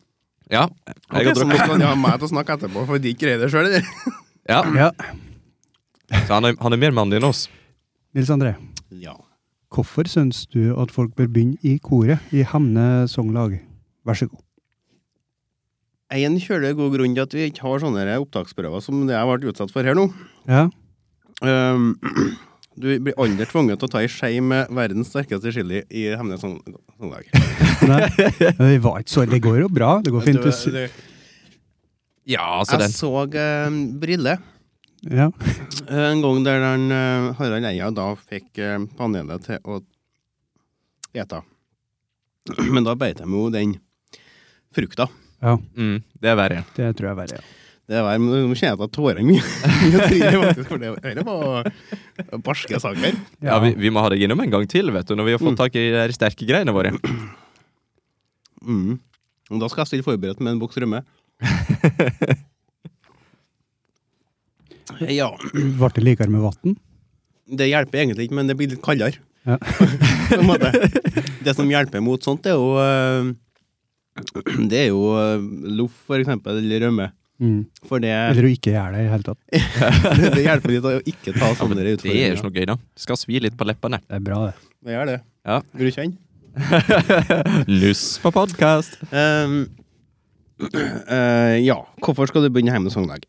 Speaker 2: Ja, jeg
Speaker 3: Ok,
Speaker 2: har
Speaker 3: så
Speaker 2: drukket-
Speaker 3: nå skal de ha meg til å snakke etterpå, for de greier det sjøl, eller?
Speaker 2: ja.
Speaker 1: Ja.
Speaker 2: Så han er, han er mer mannlig enn oss.
Speaker 1: Nils André,
Speaker 3: Ja.
Speaker 1: hvorfor syns du at folk bør begynne i koret i Hemne Songlag? Vær så god.
Speaker 3: En kjølig god grunn til at vi ikke har sånne opptaksprøver som det jeg ble utsatt for her nå.
Speaker 1: Ja.
Speaker 3: Um, du blir aldri tvunget til å ta ei skje med verdens sterkeste chili i Hemnes sånn, Sandlag.
Speaker 1: Nei, det var ikke så Det går jo bra. Det går fint. Du,
Speaker 3: Du-
Speaker 1: s-
Speaker 3: du-
Speaker 2: Ja, altså
Speaker 3: Jeg
Speaker 2: den.
Speaker 3: så um, Brille
Speaker 1: ja.
Speaker 3: en gang der den, eh, Harald Eia da fikk eh, panelet til å ete. Men da beit de jo den frukta.
Speaker 1: ja,
Speaker 2: Mm, det er verre.
Speaker 1: det tror jeg er verre. Ja.
Speaker 3: Det var, Nå kjenner jeg at tårene mine tryner faktisk, for det- det var barske saker.
Speaker 2: Ja, vi, vi må ha deg innom en gang til, vet du, når vi har fått
Speaker 3: Mm.
Speaker 2: tak i de der sterke greiene våre.
Speaker 3: Mm. Og Da skal jeg stille forberedt med en boks rømme. ja.
Speaker 1: Ble det likere med vann?
Speaker 3: Det hjelper egentlig ikke, men det blir litt kaldere.
Speaker 1: Ja.
Speaker 3: På en måte. Det som hjelper mot sånt, det er jo eh, Det er jo eh, loff, for eksempel, eller rømme.
Speaker 1: Mm.
Speaker 3: For det,
Speaker 1: Eller å ikke gjøre det i det hele tatt.
Speaker 3: det hjelper litt å ikke ta
Speaker 2: Ja, men
Speaker 3: sånne
Speaker 2: det er jo ikke
Speaker 3: utfordringer.
Speaker 2: noe gøy, da. Det skal svi litt på leppene.
Speaker 1: Det er bra, det.
Speaker 3: Det gjør det.
Speaker 2: Ja.
Speaker 3: Vil du kjenne?
Speaker 2: Nuss på podkast!
Speaker 3: Ehm, eh, ja, hvorfor skal du begynne hjemme med sangdag?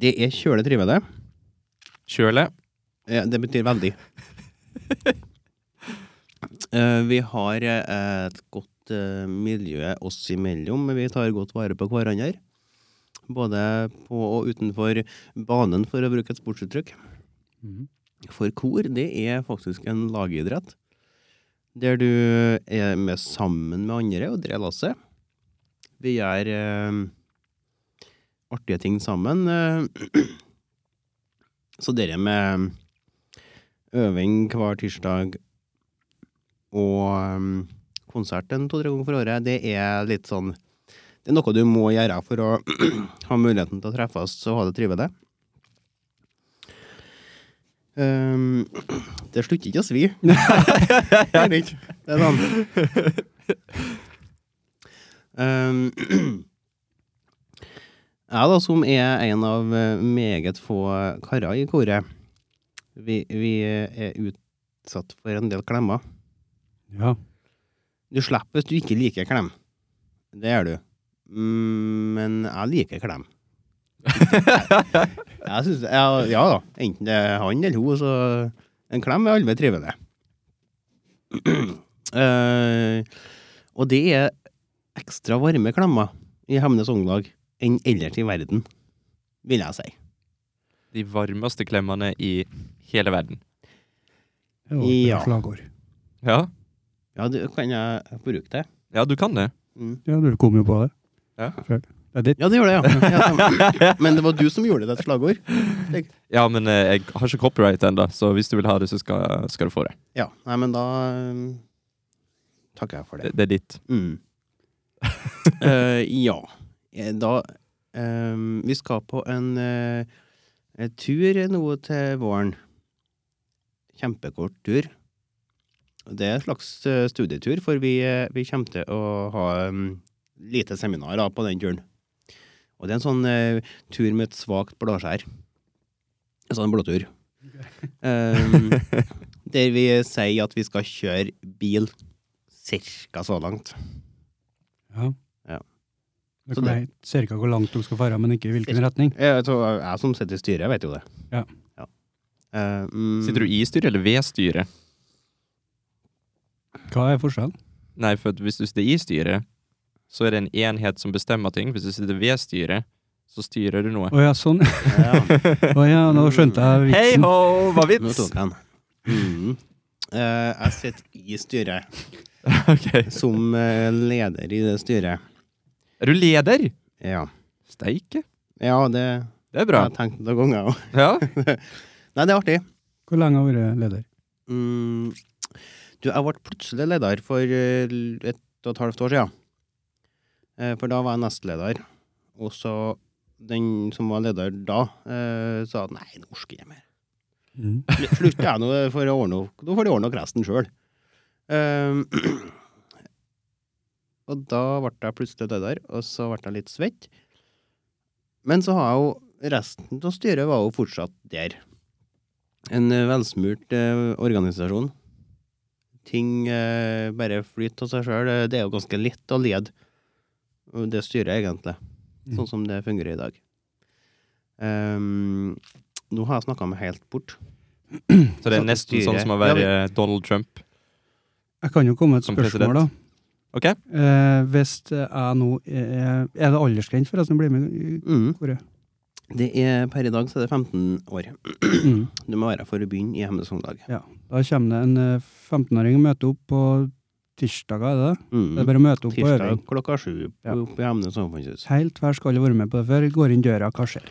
Speaker 3: Det er kjølig trivelig.
Speaker 2: Kjøle.
Speaker 3: Ja, det betyr veldig. Eh, vi har eh, et godt eh, miljø oss imellom. Vi tar godt vare på hverandre. Både på og utenfor banen, for å bruke et sportsuttrykk.
Speaker 1: Mm.
Speaker 3: For kor, det er faktisk en lagidrett. Der du er med sammen med andre og drar lasset. Vi gjør eh, artige ting sammen. eh. Så det er med øving hver tirsdag og eh, konsert en to-tre ganger for året, det er litt sånn Det er noe du må gjøre for å ha muligheten til å treffes og ha det trivelig. Ehm, det slutter ikke å svi. Det gjør det ikke. Det er sånn. Ehm, jeg da, som er en av eh, meget få karer i koret, vi, vi er utsatt for en del klemmer.
Speaker 1: Ja.
Speaker 3: Du slipper hvis du ikke liker klem. Det gjør du. Mm, Men jeg liker klem. jeg synes, ja, ja da, enten det er han eller hun, så en klem er aldri trivelig. Eh, og det er ekstra varme klemmer i Hemnes Unglag enn ellers i verden, vil jeg si.
Speaker 2: De varmeste klemmene i hele verden.
Speaker 1: Det var et bra
Speaker 3: Ja.
Speaker 1: slagord.
Speaker 2: Ja,
Speaker 3: Ja, det kan jeg bruke det.
Speaker 2: ja du kan det.
Speaker 3: Mm.
Speaker 1: Ja, du kom jo på det.
Speaker 2: Ja.
Speaker 1: Selv. Det er ditt.
Speaker 3: Ja, det gjør det, ja. ja. Men det var du som gjorde det til et slagord.
Speaker 2: Ja, men eh, jeg har ikke copyright ennå, så hvis du vil ha det, så skal, skal du få det.
Speaker 3: Ja, nei, men da eh, takker jeg for
Speaker 2: Det,
Speaker 3: det.
Speaker 2: det er ditt.
Speaker 3: Mm. Eh, ja, Eh, da eh, Vi skal på en eh, eh, tur nå til våren. Kjempekort tur. Det er en slags eh, studietur, for vi, eh, vi kommer til å ha em, lite seminar da, på den turen. Og det er en sånn eh, tur med et svakt blåskjær. En sånn blåtur. Em, der vi sier at vi skal kjøre bil cirka så langt.
Speaker 1: Ja.
Speaker 3: Ja.
Speaker 1: Det
Speaker 3: Så
Speaker 1: kan
Speaker 3: det-
Speaker 1: jeg ser ikke hvor langt de skal fare, men ikke i hvilken retning.
Speaker 3: Jeg, tror- jeg som sitter i styret, vet jo det.
Speaker 1: Ja.
Speaker 3: Eh, mm,
Speaker 2: Sitter du i styret eller ved styret?
Speaker 1: Hva er forskjellen?
Speaker 2: Nei, for at hvis du sitter i styret, så er det en enhet som bestemmer ting. Hvis du sitter ved styret, så styrer du noe.
Speaker 1: Å ja, sånn.
Speaker 3: Ja,
Speaker 1: Å ja, nå skjønte jeg
Speaker 2: Hei
Speaker 1: vitsen.
Speaker 2: ho, hva
Speaker 3: nå
Speaker 2: vits?
Speaker 3: tok jeg den. Mm. Eh, jeg sitter i styret
Speaker 2: Ok.
Speaker 3: som eh, leder i det styret.
Speaker 2: Er du leder?
Speaker 3: Ja,
Speaker 2: Steike.
Speaker 3: ja det
Speaker 2: Det er bra.
Speaker 3: har jeg tenkt noen ganger òg.
Speaker 2: Ja.
Speaker 3: Nei, det er artig.
Speaker 1: Hvor lenge har du vært leder?
Speaker 3: Mm. Du, jeg ble plutselig leder for eh, ett og et halvt år siden. Eh, For da var jeg nestleder. Og så den som var leder da, eh, sa at nei, nå orker jeg ikke mer.
Speaker 1: Mm.
Speaker 3: Slu- Slutter jeg nå, for å ordne opp- nå får de ordne opp resten sjøl. og da ble jeg plutselig leder, og så ble jeg litt svett. Men så har jeg jo resten av styret var jo fortsatt der. En eh, velsmurt eh, organisasjon. Ting eh, bare flyter av seg sjøl. Det er jo ganske lett å lede og det styret, egentlig.
Speaker 1: Mm.
Speaker 3: Sånn som det fungerer i dag. Ehm, Nå har jeg snakka meg helt bort.
Speaker 2: Så det er
Speaker 3: Satt i
Speaker 2: nesten
Speaker 3: styret.
Speaker 2: sånn som å
Speaker 3: Ja,
Speaker 2: være
Speaker 3: vi-
Speaker 2: eh, Donald Trump.
Speaker 1: Jeg kan jo komme med et
Speaker 2: Som
Speaker 1: spørsmål, da.
Speaker 2: president. Ok?
Speaker 1: Eh, hvis jeg nå er Er det aldersgrense for jeg som blir med i
Speaker 3: Mm.
Speaker 1: koret?
Speaker 3: Det er, per i dag så er det 15 år.
Speaker 1: Mm.
Speaker 3: Du må være for å begynne i Hemnes Ungdag.
Speaker 1: Da kommer det en eh, 15-åring og møter opp på tirsdager, er det det? Det er
Speaker 3: Mm.
Speaker 1: bare å møte opp på øving.
Speaker 3: Tirsdag klokka sju
Speaker 1: Ja.
Speaker 3: oppe i Hemnes samfunnshus.
Speaker 1: Helt hver skal ha vært med på det før. Går inn døra, hva skjer?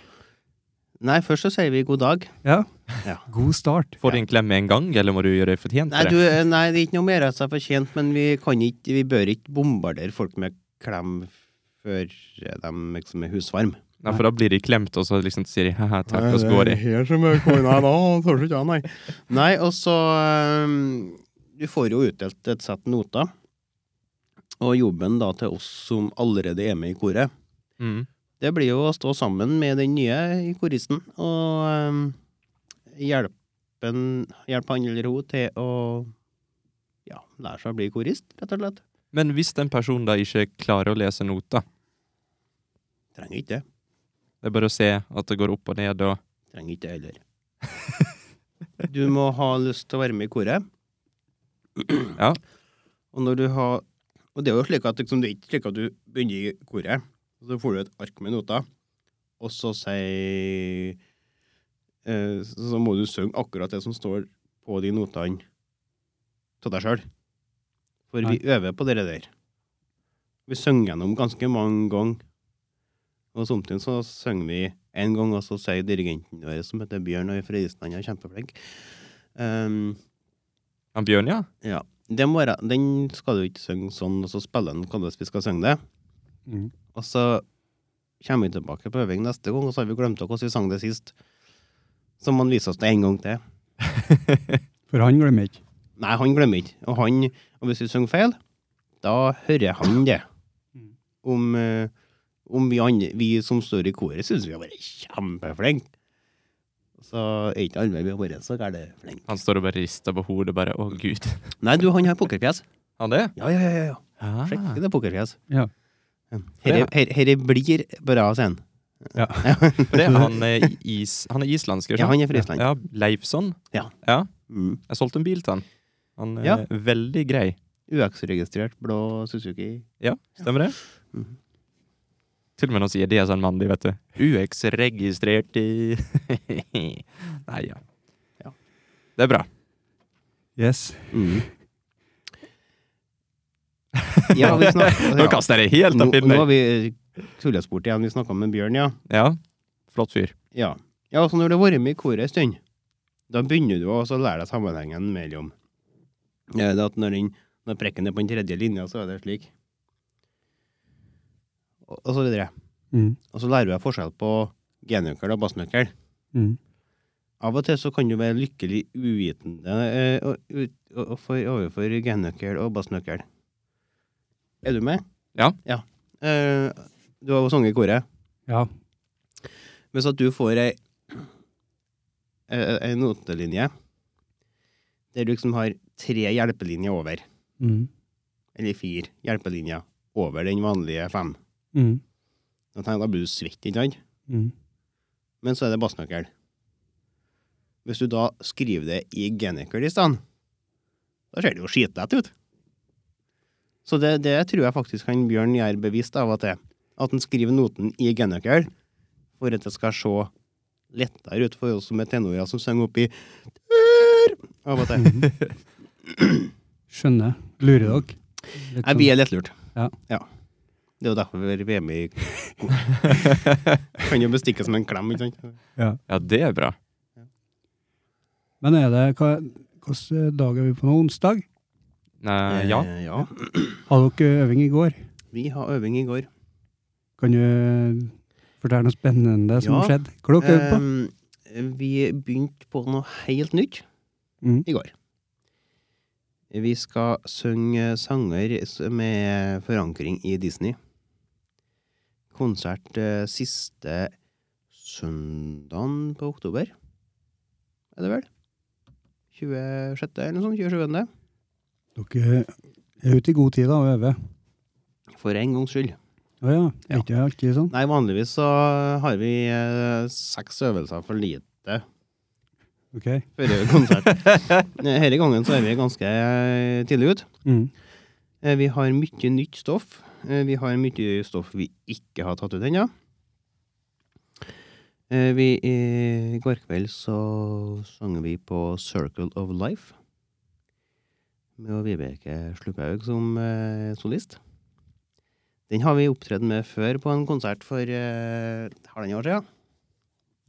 Speaker 3: Nei, først så sier vi god dag.
Speaker 1: Ja.
Speaker 3: Ja.
Speaker 1: God start.
Speaker 2: Får du en klem med en gang, eller må du gjøre deg fortjent
Speaker 3: Nei,
Speaker 2: til
Speaker 3: du,
Speaker 2: det?
Speaker 3: nei, det er ikke noe mer av seg fortjent, men vi kan ikke, vi bør ikke bombardere folk med klem før de liksom er husvarm.
Speaker 2: Nei, for da blir de klemt, og så liksom sier de haha, takk, og så går de.
Speaker 3: Her som er kona da, tør ikke nei. Nei, og så øhm, Du får jo utdelt et sett noter. Og jobben da til oss som allerede er med i koret,
Speaker 2: Mm.
Speaker 3: det blir jo å stå sammen med den nye i koristen og øhm, hjelpe en- hjelpe han eller hun til å ja, lære seg å bli korist, rett og slett.
Speaker 2: Men hvis en person da ikke klarer å lese nota,
Speaker 3: Trenger ikke det.
Speaker 2: det er bare å se at det går opp og ned og
Speaker 3: Trenger ikke det heller. Du må ha lyst til å være med i koret.
Speaker 2: Ja.
Speaker 3: Og når du har Og det er jo slik at liksom, det er ikke slik at du begynner i koret, og så får du et ark med noter, og så sier eh, Så må du synge akkurat det som står på de notene til deg sjøl. For vi øver på det der. Vi synger gjennom ganske mange ganger. Og samtidig så synger vi en gang, og så sier dirigenten vår, som heter Bjørn, og er fra Island, han er kjempeflink um,
Speaker 2: Han Bjørn, ja?
Speaker 3: ja. Det må være, den skal du ikke synge sånn, og så spiller den hvordan vi skal synge det.
Speaker 1: Mm.
Speaker 3: Og så kommer vi tilbake på øving neste gang, og så har vi glemt hvordan vi sang det sist. Så må han vise oss det en gang til.
Speaker 1: For han glemmer ikke.
Speaker 3: Nei, han glemmer ikke. Og, han, og hvis vi synger feil, da hører han det.
Speaker 1: Mm.
Speaker 3: Om, eh, om vi, andre, vi som står i koret, syns vi har vært kjempeflinke. Så er ikke alle vi har vært så gærne flinke.
Speaker 2: Han står og bare rister på hodet bare å gud.
Speaker 3: Nei, du, han har pokerfjes.
Speaker 2: Han det?
Speaker 3: Ja, ja, ja. ja, ja.
Speaker 2: Ah.
Speaker 3: Skikkelig det pokerfjes.
Speaker 1: Ja.
Speaker 3: Herre, herre, herre blir bra, sier han.
Speaker 2: Det er han, eh, is, han er islandsk, ikke
Speaker 3: Ja,
Speaker 2: sant?
Speaker 3: han er fra Island.
Speaker 2: Ja, Leifsson.
Speaker 3: Ja.
Speaker 2: ja.
Speaker 3: Mm.
Speaker 2: Jeg solgte en bil til han. Han er
Speaker 3: Ja.
Speaker 2: veldig grei.
Speaker 3: UX-registrert blå Suzuki.
Speaker 2: Ja, stemmer det?
Speaker 3: Mhm.
Speaker 2: Til og med når han sier det, så er han mandig, vet du. UX-registrert i Nei, ja.
Speaker 3: Ja.
Speaker 2: Det er bra.
Speaker 1: Yes.
Speaker 3: Ja, vi snakker
Speaker 2: Nå kaster jeg det helt
Speaker 3: Nå,
Speaker 2: av
Speaker 3: nå
Speaker 2: pinnen.
Speaker 3: har vi eh, tullet oss bort igjen. Vi snakka med Bjørn, ja.
Speaker 2: Ja. Flott fyr.
Speaker 3: Ja, ja altså når du har vært med i koret en stund, da begynner du også å lære deg sammenhengen mellom ja, det at når, den, når prekken er på den tredje linja, så er det slik. Og, og så videre.
Speaker 1: Mm.
Speaker 3: Og så lærer du deg forskjell på genøkkel og bassnøkkel.
Speaker 1: Mm.
Speaker 3: Av og til så kan du være lykkelig uvitende eh, og- ut- og- og for, overfor genøkkel og bassnøkkel. Er du med?
Speaker 2: Ja.
Speaker 3: Eh, du har jo sunget i koret.
Speaker 1: Ja.
Speaker 3: Hvis at du får ei, ei, ei notelinje der du liksom har tre hjelpelinjer over,
Speaker 1: Mm.
Speaker 3: eller fire hjelpelinjer over den vanlige fem,
Speaker 1: Mm.
Speaker 3: da tenker jeg, da blir du svett, ikke sant?
Speaker 1: Mm.
Speaker 3: Men så er det bassnøkkel. Hvis du da skriver det i genøkkel i stedet, da ser det jo skitlett ut. Så det, det tror jeg faktisk han Bjørn gjør bevisst av at det. At han skriver noten i genøkkel for at det skal se lettere ut for oss som er tenorer som synger opp i ør av og til.
Speaker 1: Mm. Skjønner. Lurer dere? Litt
Speaker 3: Nei, vi er lettlurt.
Speaker 1: Ja.
Speaker 3: Det er jo derfor vi er VM i Kan jo bestikkes med en klem, ikke sant?
Speaker 2: Ja, det er bra.
Speaker 1: sånn. Men er det hva, Hvilken dag er vi på nå? Onsdag?
Speaker 2: Nei, ja.
Speaker 3: Eh, ja.
Speaker 1: Hadde dere øving i går?
Speaker 3: Vi har øving i går.
Speaker 1: Kan du eh, fortelle noe spennende som
Speaker 3: Ja.
Speaker 1: har skjedd? Hva dere øvde på?
Speaker 3: Ehm, vi begynte på noe helt nytt
Speaker 1: Mm.
Speaker 3: i går. Vi skal synge sanger s- med forankring i Disney. Konsert eh, siste søndagen på oktober. Er det vel? 26. eller noe sånt? 27.
Speaker 1: Dere er ute i god tid da og øver.
Speaker 3: For en gangs skyld.
Speaker 1: Å ja.
Speaker 3: Ja.
Speaker 1: Er ikke det alltid sånn?
Speaker 3: Nei, vanligvis så har vi eh, seks øvelser for lite
Speaker 4: åtte
Speaker 1: Ok?
Speaker 4: før konsert. Denne gangen så er vi ganske tidlig ute.
Speaker 1: Mm.
Speaker 4: Eh, Vi har mye nytt stoff. Eh, Vi har mye stoff vi ikke har tatt ut ennå. Eh, Vi, eh, I går kveld så sang vi på Circle of Life med å Vibeke Sluphaug som eh, solist. Den har vi opptredd med før på en konsert for eh, halvannet år siden.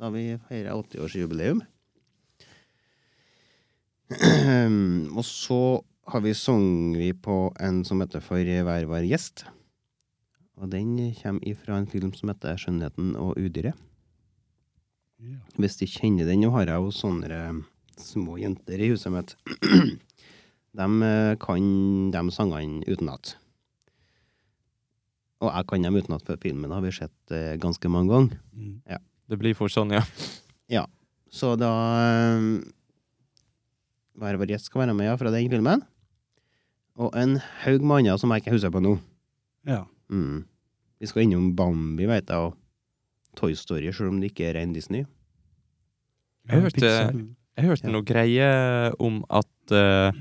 Speaker 4: Da vi feira 80-årsjubileum. Og så har vi sunget vi på en som heter For hver var gjest. Og den kommer ifra en film som heter Skjønnheten og udyret.
Speaker 1: Ja.
Speaker 4: Hvis de kjenner den, nå har jeg jo sånne eh, små jenter i huset mitt. De eh, kan de sangene utenat. Og jeg kan dem utenat, for filmen har vi sett eh, ganske mange ganger.
Speaker 1: Mm.
Speaker 2: Det blir fort sånn, ja.
Speaker 4: Så da eh, Hver vår gjest skal være med ja, fra den filmen. Og en haug med andre som jeg ikke husker på nå.
Speaker 1: ja.
Speaker 4: Mm. Vi skal innom Bambi, vet jeg, og Toy Story, selv om det ikke er ren Disney.
Speaker 2: Jeg hørte-
Speaker 1: Pixar.
Speaker 2: Jeg hørte
Speaker 4: Ja.
Speaker 2: noe greie om at eh,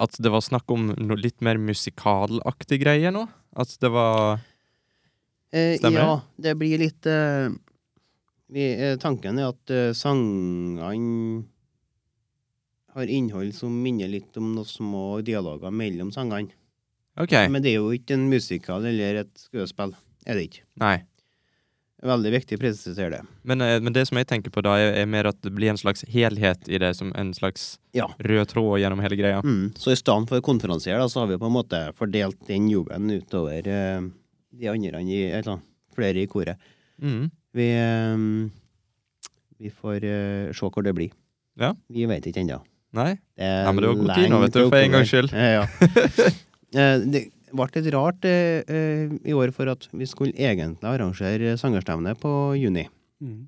Speaker 2: At det var snakk om noe litt mer musikalaktig greie nå. At det var
Speaker 4: Eh,
Speaker 2: Stemmer
Speaker 4: ja, det blir litt eh, vi, eh, Tanken er at eh, sangene har innhold som minner litt om noen små dialoger mellom sangene.
Speaker 2: OK.
Speaker 4: Men det er jo ikke en musikal eller et skuespill. Er det ikke.
Speaker 2: Nei.
Speaker 4: Veldig viktig å presisere det.
Speaker 2: Men, eh, men det som jeg tenker på da, er, er mer at det blir en slags helhet i det, som en slags
Speaker 4: Ja.
Speaker 2: rød tråd gjennom hele greia.
Speaker 4: Mm. Så i stedet for konferansier, da, så har vi på en måte fordelt den jobben utover eh, de andre i Eller flere i koret.
Speaker 2: Mm.
Speaker 4: Vi, ehm, vi får eh, se hvor det blir.
Speaker 2: Ja.
Speaker 4: Vi vet ikke ennå.
Speaker 2: Nei?
Speaker 4: Det er
Speaker 2: Ja, men det var god tid nå,
Speaker 4: langt
Speaker 2: vet du, for en
Speaker 4: oppover.
Speaker 2: gangs skyld.
Speaker 4: Ja, ja. Eh, det ble litt rart eh, eh, i år for at vi skulle egentlig arrangere sangerstevne på juni,
Speaker 1: Mm.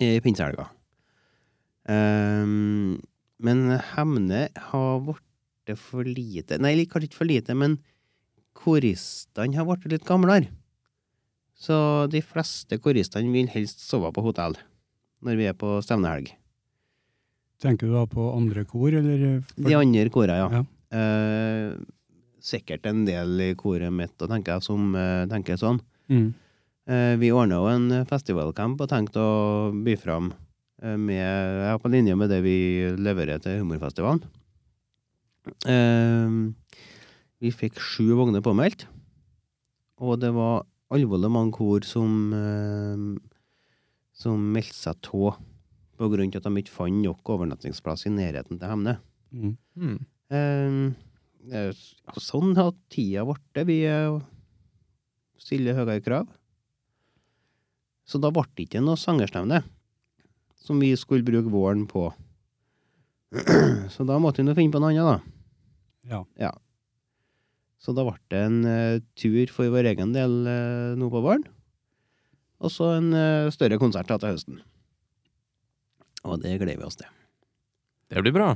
Speaker 4: i pinsehelga. Ehm, men Hemne har blitt for lite Nei, litt- kanskje ikke for lite, men koristene har blitt litt gamlere. Så de fleste koristene vil helst sove på hotell når vi er på stevnehelg.
Speaker 1: Tenker du da på andre kor, eller? eh, For,
Speaker 4: De andre kora, ja.
Speaker 1: Ja.
Speaker 4: Eh, sikkert en del i koret mitt, da tenker jeg, som eh, tenker sånn.
Speaker 1: Mm.
Speaker 4: Eh, vi ordna jo en festivalcamp og tenkte å by fram eh, med ja, på linje med det vi leverer til Humorfestivalen. Eh, vi fikk sju vogner påmeldt, og det var alvorlig mange kor som eh, som meldte seg tå på grunn til at de ikke fant nok overnattingsplass i nærheten til Hemne.
Speaker 1: Mm.
Speaker 2: Mm.
Speaker 4: Eh, det er jo s- ja, sånn har tida blitt. Vi eh, stiller høyere krav. Så da ble det ikke noe sangerstevne som vi skulle bruke våren på. Så da måtte vi nå finne på noe annet, da.
Speaker 1: Ja.
Speaker 4: Så da ble det en eh, tur for vår egen del eh, nå på våren. Og så en eh, større konsert da til høsten. Og det gleder vi oss til.
Speaker 2: Det blir bra.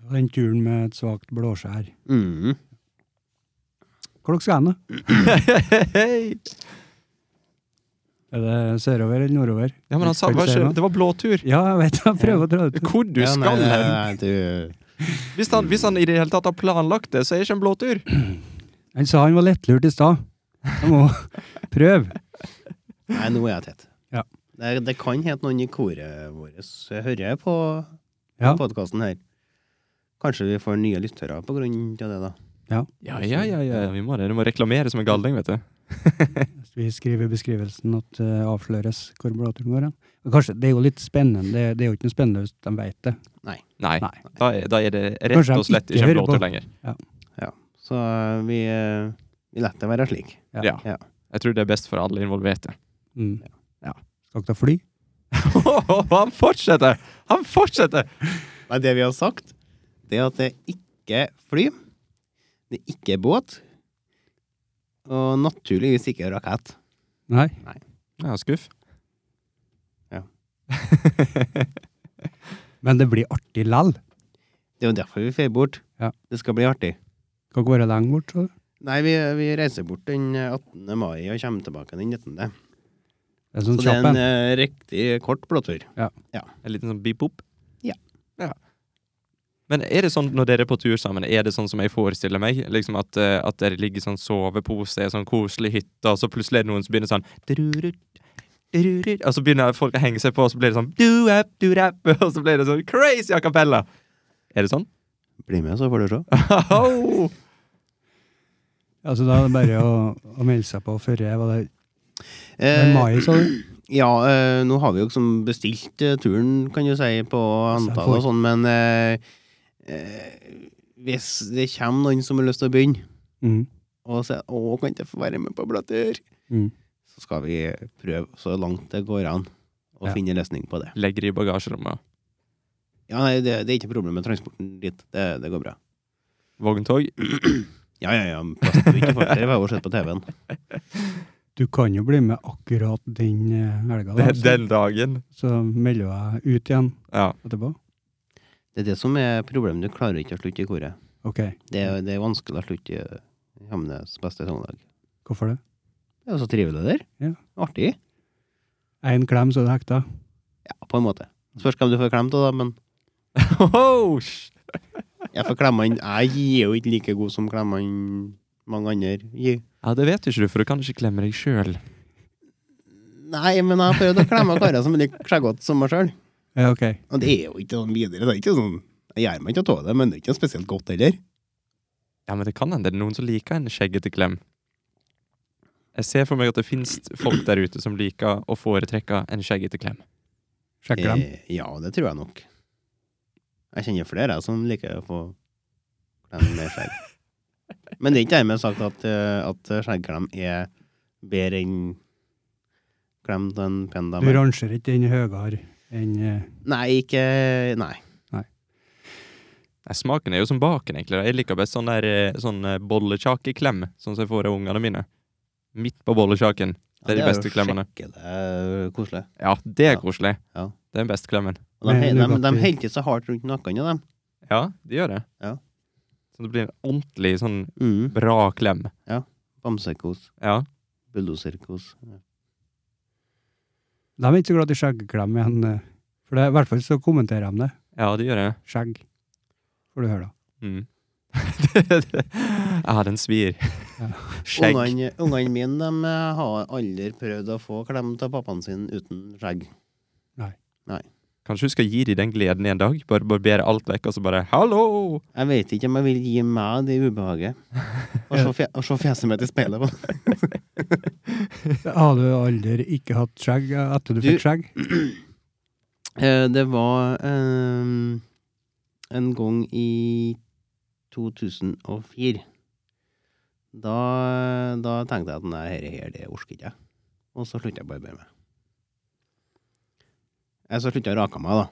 Speaker 1: Det var Den turen med et svakt blåskjær.
Speaker 2: Mm-hmm.
Speaker 4: Mm.
Speaker 1: Hvor dere skal hen, da?
Speaker 2: Hei!
Speaker 1: Er det sørover eller nordover?
Speaker 2: Ja, men han sa,
Speaker 1: Skal vi
Speaker 2: var
Speaker 1: se
Speaker 2: ikke,
Speaker 1: nå?
Speaker 2: det var blåtur.
Speaker 1: Ja, jeg vet jeg prøver å dra det ut.
Speaker 2: Hvor du
Speaker 4: Ja, nei,
Speaker 2: skal
Speaker 4: nei,
Speaker 2: hen.
Speaker 4: nei, du...
Speaker 2: Hvis han, hvis han i det hele tatt har planlagt det, så er det ikke en blåtur.
Speaker 1: Han sa han var lettlurt i stad. Jeg må prøve.
Speaker 4: Nei, nå er jeg tett.
Speaker 1: Ja.
Speaker 4: Det, det kan hete noen i koret vårt hører på
Speaker 1: Ja.
Speaker 4: podkasten her. Kanskje vi får nye lyttere på grunn av det, da.
Speaker 2: Ja, ja, ja, ja, vi må det. Du må reklamere som en galning, vet du.
Speaker 1: Vi skriver i beskrivelsen at det avsløres hvor blåturen går hen. Men Kanskje, Det er jo litt spennende. Det, det er jo ikke noe spennende hvis de vet det.
Speaker 2: Nei,
Speaker 1: Nei.
Speaker 2: Da, er, da er det rett
Speaker 1: Kanskje han
Speaker 2: og slett
Speaker 1: ikke
Speaker 2: ikke en
Speaker 1: hører på.
Speaker 2: blåtur lenger.
Speaker 4: Så eh, vi, eh, vi lar det være slik.
Speaker 2: Ja.
Speaker 4: Ja.
Speaker 2: Jeg tror det er best for alle involverte.
Speaker 1: Mm.
Speaker 2: Ja.
Speaker 1: Skal ikke ta fly?
Speaker 2: han fortsetter! Han fortsetter!
Speaker 4: Nei, det vi har sagt, det er at det ikke er fly, det er ikke båt, og naturligvis ikke rakett.
Speaker 1: Nei.
Speaker 2: Ja, skuff.
Speaker 4: Ja.
Speaker 1: Men det blir artig lell.
Speaker 4: Det er jo derfor vi fer bort.
Speaker 1: Ja.
Speaker 4: Det skal bli artig.
Speaker 1: Skal ikke være lenge bort, så.
Speaker 4: Nei, vi, vi reiser bort den 18. mai og kommer tilbake den 19.
Speaker 1: Det er en
Speaker 3: Så
Speaker 1: sånn
Speaker 3: det er
Speaker 1: kjapp
Speaker 3: en
Speaker 1: en.
Speaker 3: eh, riktig kort blåtur.
Speaker 2: En liten sånn beep-opp?
Speaker 3: Ja.
Speaker 2: ja. Men er det sånn når dere er på tur sammen, er det sånn som jeg forestiller meg? Liksom At, eh, at dere ligger i sånn sovepose i en sånn koselig hytte, og så plutselig er det noen som begynner sånn drurut, drurut, Og så begynner folk å henge seg på, og så blir det sånn du-up, du-rap, og så blir det sånn crazy a cappella! Er det sånn?
Speaker 3: Bli med, så får du se.
Speaker 2: Ho!
Speaker 1: Altså, da er det bare å, å melde seg på før jeg var der. Det er
Speaker 3: Eh,
Speaker 1: mai, sa du?
Speaker 3: ja, eh, nå har vi jo liksom bestilt eh, turen, kan du si, på
Speaker 1: jeg
Speaker 3: antall
Speaker 1: får-
Speaker 3: og sånn, men eh, eh, hvis det kommer noen som har lyst til å begynne,
Speaker 1: Mm.
Speaker 3: og sier 'Å, kan ikke jeg få være med på blåtur',
Speaker 1: Mm.
Speaker 3: så skal vi prøve så langt det går an å
Speaker 1: Ja.
Speaker 3: finne løsning på det.
Speaker 2: Legger det i bagasjerommet.
Speaker 3: Ja, nei, det, det er ikke noe problem med transporten dit. Det, det går bra.
Speaker 2: Vogntog.
Speaker 3: Ja, ja, ja. men Plass til ikke folk. Det har jeg jo sett på TV-en.
Speaker 1: Du kan jo bli med akkurat den eh, helga, da.
Speaker 2: Den,
Speaker 1: altså.
Speaker 2: den dagen.
Speaker 1: Så melder jeg ut igjen
Speaker 2: Ja.
Speaker 1: etterpå.
Speaker 3: Det er det som er problemet. Du klarer ikke å slutte i koret.
Speaker 1: OK,
Speaker 3: Det, er- det er vanskelig å slutte i i Hamnes beste sanglag.
Speaker 1: hvorfor det?
Speaker 3: Det er jo så trivelig der.
Speaker 1: Ja.
Speaker 3: Artig.
Speaker 1: Én klem, så er det hekta.
Speaker 3: Ja, på en måte. Spørs hvem du får klemt av, da, men
Speaker 2: Ho-ho! Sj.
Speaker 3: jeg får klemme han Jeg er jo ikke like god som klemme han mange andre gir.
Speaker 2: Ja, det vet jo ikke du, for du kan ikke klemme deg sjøl.
Speaker 3: Nei, men jeg har prøvd å klemme karer som er like skjeggete som meg sjøl.
Speaker 1: Ja, OK.
Speaker 3: Og det er jo ikke sånn videre. Det er ikke sånn Jeg gjør meg ikke av det, men det er ikke spesielt godt heller.
Speaker 2: Ja, men det kan hende det er noen som liker en skjeggete klem. Jeg ser for meg at det finnes folk der ute som liker å foretrekke en skjeggete klem.
Speaker 1: Sjekk klem.
Speaker 3: Eh, ja, det tror jeg nok. Jeg kjenner flere jeg, som liker å få klem med skjegg. Men det er ikke dermed sagt at, eh, at skjeggklem er bedre enn klem til en pen
Speaker 1: Du
Speaker 3: dame.
Speaker 1: rangerer ikke den høyere enn eh,
Speaker 3: Nei, ikke Nei.
Speaker 2: Nei, smaken er jo som baken, egentlig. da. Jeg liker best sånn der eh, sånn eh, bollekjakeklem, sånn som jeg får av ungene mine. Midt på bollekjaken. Det er de beste klemmene.
Speaker 3: Skikkelig eh, koselig.
Speaker 2: Ja, det er
Speaker 3: Ja.
Speaker 2: koselig.
Speaker 3: Ja.
Speaker 2: Det er den beste klemmen.
Speaker 3: Og de,
Speaker 1: Med
Speaker 3: de, de,
Speaker 1: Nugatti.
Speaker 3: holder seg hardt rundt nakken av dem.
Speaker 2: Ja, de gjør det.
Speaker 3: Ja.
Speaker 2: Så det blir en ordentlig sånn
Speaker 3: Mm.
Speaker 2: bra klem.
Speaker 3: Bamsekos,
Speaker 2: Ja.
Speaker 3: bulldoserkos.
Speaker 1: De er ikke så glad i skjeggklem igjen. eh, For det, i hvert fall så kommenterer de det.
Speaker 2: Ja, de gjør det.
Speaker 1: Skjegg. Får du høre, da.
Speaker 2: Mm. ja, den svir.
Speaker 1: Ja.
Speaker 2: Skjegg.
Speaker 3: Ungene ungene mine de eh, har aldri prøvd å få klem av pappaen sin uten skjegg.
Speaker 2: Kanskje du skal gi dem den gleden en dag? Bare barbere alt vekk, og så bare 'hallo'!
Speaker 3: Jeg vet ikke om jeg vil gi meg det ubehaget. Å se fje- å se fjeset mitt i speilet. på den.
Speaker 1: Har du aldri ikke hatt skjegg eh, etter du,
Speaker 3: Du-
Speaker 1: fikk skjegg?
Speaker 3: Eh, Det var eh, en gang i 2004. Da, Eh, da tenkte jeg at nei, dette her, det orker ikke jeg. Og så sluttet jeg å barbere meg. Eh, Så sluttet jeg å rake meg, da.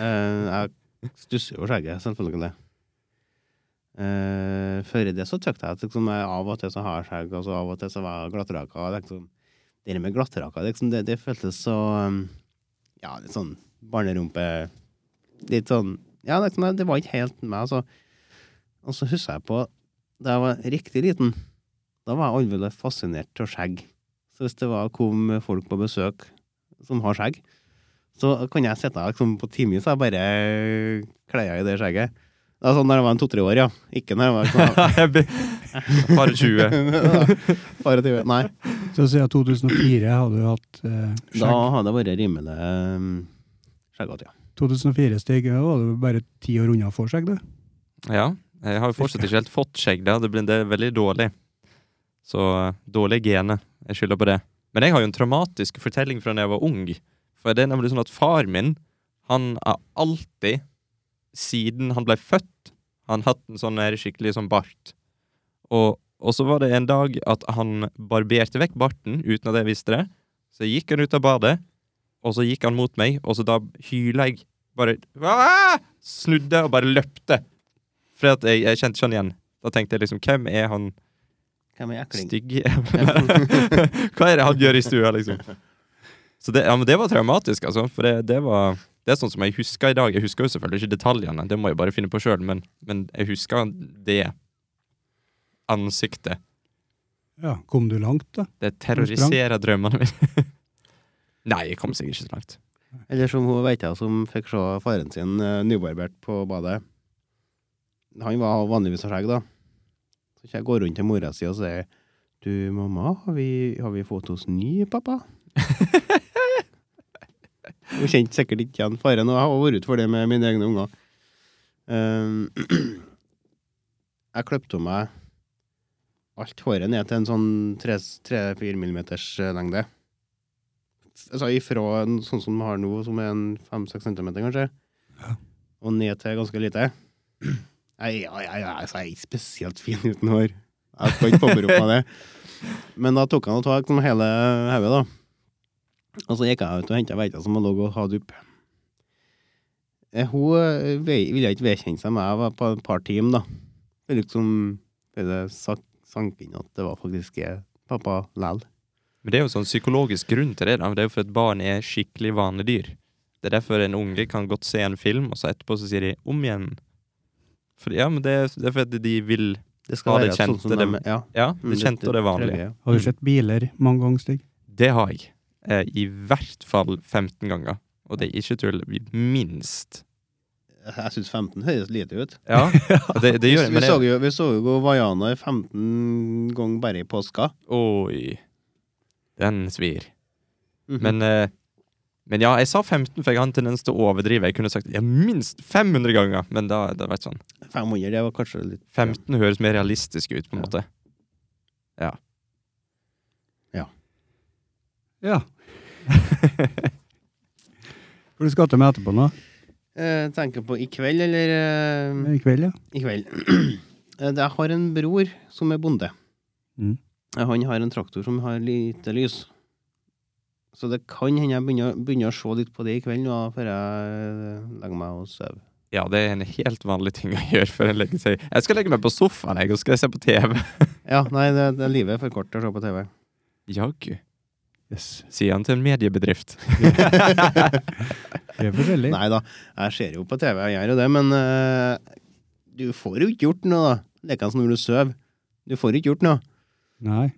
Speaker 3: Eh, Jeg stusser jo skjegget, selvfølgelig. Eh, Før i det så tøkte jeg at liksom, jeg av og til så har jeg skjegg, og så av og til så var jeg glattraka. og Liksom, det der med glattraka, liksom, det, det føltes så um, ja, litt sånn barnerumpe Litt sånn Ja, det, nei, det var ikke helt meg, altså. Og så husker jeg på da jeg var riktig liten, da var jeg alvorlig fascinert av skjegg. Så hvis det var, kom folk på besøk som har skjegg, så kunne jeg sitte liksom, på timevis og bare kleia i det skjegget. Det var sånn da jeg var en to-tre år, ja. Ikke når jeg var sånn,
Speaker 2: Bare 20.
Speaker 3: Bare 20. Nei.
Speaker 1: Så siden 2004 har du hatt eh,
Speaker 3: Da
Speaker 1: skjegg.
Speaker 3: hadde det vært rimelig um, skjeggete, ja.
Speaker 1: 2004-stig, da var du bare ti år unna å få skjegg, du.
Speaker 2: Ja. Jeg har jo fortsatt ikke helt fått skjegg. da. Det blir- det er veldig dårlig. Så eh, dårlige gener. Jeg skylder på det. Men jeg har jo en traumatisk fortelling fra da jeg var ung. For det er nemlig sånn at far min, han har alltid, siden han ble født, han hatt en sånn her skikkelig sånn bart. Og, og så var det en dag at han barberte vekk barten uten at jeg visste det. Så gikk han ut av badet, og så gikk han mot meg, og så da hyla jeg bare «Aah!» Snudde og bare løpte. For at jeg, jeg kjente ikke han igjen. Da tenkte jeg liksom, hvem er han
Speaker 3: Hvem er ekling?
Speaker 2: stygge Hva er det han gjør i stua, liksom? Så det, ja, men det var traumatisk, altså. For det, det var Det er sånn som jeg husker i dag. Jeg husker jo selvfølgelig ikke detaljene, det må jeg bare finne på sjøl, men, men jeg husker det ansiktet.
Speaker 1: Ja, Kom du langt, da?
Speaker 2: Det terroriserer drømmene mine. Nei, jeg kom sikkert ikke så langt.
Speaker 3: Eller som hun vet jeg som fikk se faren sin eh, nybarbert på badet. Han var vanligvis har skjegg, da. Så jeg går rundt til mora si og sier Du, mamma, har vi, har vi fått oss ny pappa? Hun kjente sikkert ikke igjen faren, og jeg har vært ute for det med mine egne unger. Ehm, jeg kløpte av meg alt håret ned til en sånn 3-4 millimeters eh, lengde. Altså ifra en sånn som vi har nå, som er en 5-6 centimeter, kanskje,
Speaker 1: Ja.
Speaker 3: og ned til ganske lite. Jeg, jeg, jeg, altså, jeg, jeg er ikke spesielt fin uten hår. Jeg skal ikke påberope meg det. Men da tok han og tak som hele hodet, da. Og så gikk jeg ut og henta veita som lå og hadde opp. Eh, Hun eh, ve- ville ikke vedkjenne seg meg var på et par timer, da. Det liksom det sak, sank inn at det var faktisk jeg, pappa lell.
Speaker 2: Men det er jo sånn psykologisk grunn til det. da. Det er jo for at barn er skikkelig vanedyr. Det er derfor en unge kan godt se en film, og så etterpå så sier de 'om igjen'. For, ja, men det er, det er fordi de vil
Speaker 3: Det
Speaker 2: Ja, Ah, det
Speaker 3: være sånn
Speaker 2: kjente
Speaker 3: som
Speaker 2: det-
Speaker 3: de- ja.
Speaker 2: Ja,
Speaker 3: Mm,
Speaker 2: det kjente og det vanlige.
Speaker 3: prøver jeg.
Speaker 1: Har du sett biler mange ganger, Stig?
Speaker 2: Det har jeg. Eh, I hvert fall 15 ganger. Og det er ikke tull. Minst.
Speaker 3: Jeg syns 15 høres lite ut.
Speaker 2: Ja, og det, det gjør jeg.
Speaker 3: vi,
Speaker 2: Men
Speaker 3: så
Speaker 2: det,
Speaker 3: jo, vi så jo gå Vaiana i 15 ganger bare i påska.
Speaker 2: oi. Den svir.
Speaker 3: Mhm.
Speaker 2: Men, eh, men ja, jeg sa 15, for jeg har en tendens til å overdrive. Jeg kunne sagt ja, minst 500 ganger, men da, da vet sånn.
Speaker 3: 500, det var kanskje litt
Speaker 2: 15 høres mer realistisk ut, på en
Speaker 3: Ja.
Speaker 2: måte.
Speaker 1: Ja. Hvor du skal til meg etterpå nå?
Speaker 3: Eh, Tenker på i kveld, eller
Speaker 4: Mm.
Speaker 3: eh,
Speaker 1: I kveld, ja.
Speaker 3: i kveld. Eh, Jeg har en bror som er bonde.
Speaker 1: Mm.
Speaker 3: Eh, Han har en traktor som har lite lys. Så det kan hende jeg begynner, begynner å se litt på det i kveld nå, før jeg eh, legger meg og sover.
Speaker 2: Ja, det er en helt vanlig ting å gjøre før en legger seg. Jeg skal legge meg på sofaen, jeg, og skal se på TV.
Speaker 3: Ja, nei, det, det livet er for kort til å se på TV.
Speaker 2: Jaggu,
Speaker 1: Yes.
Speaker 2: sier han til en mediebedrift.
Speaker 1: Det er forskjellig.
Speaker 3: Nei da, jeg ser jo på TV, jeg gjør jo det, men eh, du får jo ikke gjort noe, da. Leker som når du sover. Du får ikke gjort noe.
Speaker 1: Nei.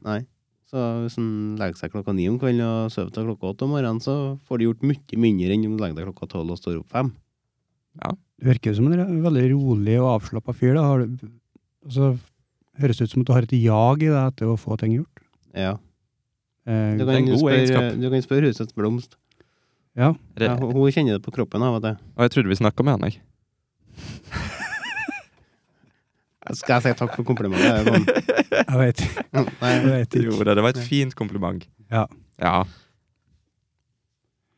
Speaker 3: Så hvis en legger seg klokka ni om kvelden og sover til klokka åtte om morgenen, så får du gjort mye mindre enn om du legger deg klokka tolv og står opp fem.
Speaker 1: Du virker som en re- veldig rolig og avslappa fyr. da. Har du, altså, høres ut som at du har et jag i deg etter å få ting gjort.
Speaker 3: Ja.
Speaker 1: Eh,
Speaker 2: Det
Speaker 3: Du
Speaker 2: er
Speaker 3: kan,
Speaker 2: en god
Speaker 3: spørre,
Speaker 2: egenskap.
Speaker 3: du kan spørre Husets Blomst.
Speaker 1: ja.
Speaker 2: Det,
Speaker 3: Ja, hun- hun kjenner det på kroppen av og til.
Speaker 2: og jeg trodde vi snakka med han, jeg.
Speaker 3: Skal jeg si takk for komplimentet? Det er
Speaker 1: Jeg vet,
Speaker 3: sånn-
Speaker 1: jeg
Speaker 3: Nei.
Speaker 1: vet
Speaker 2: Jo
Speaker 1: ikke.
Speaker 2: da, det var et fint kompliment.
Speaker 1: Ja.
Speaker 2: Ja.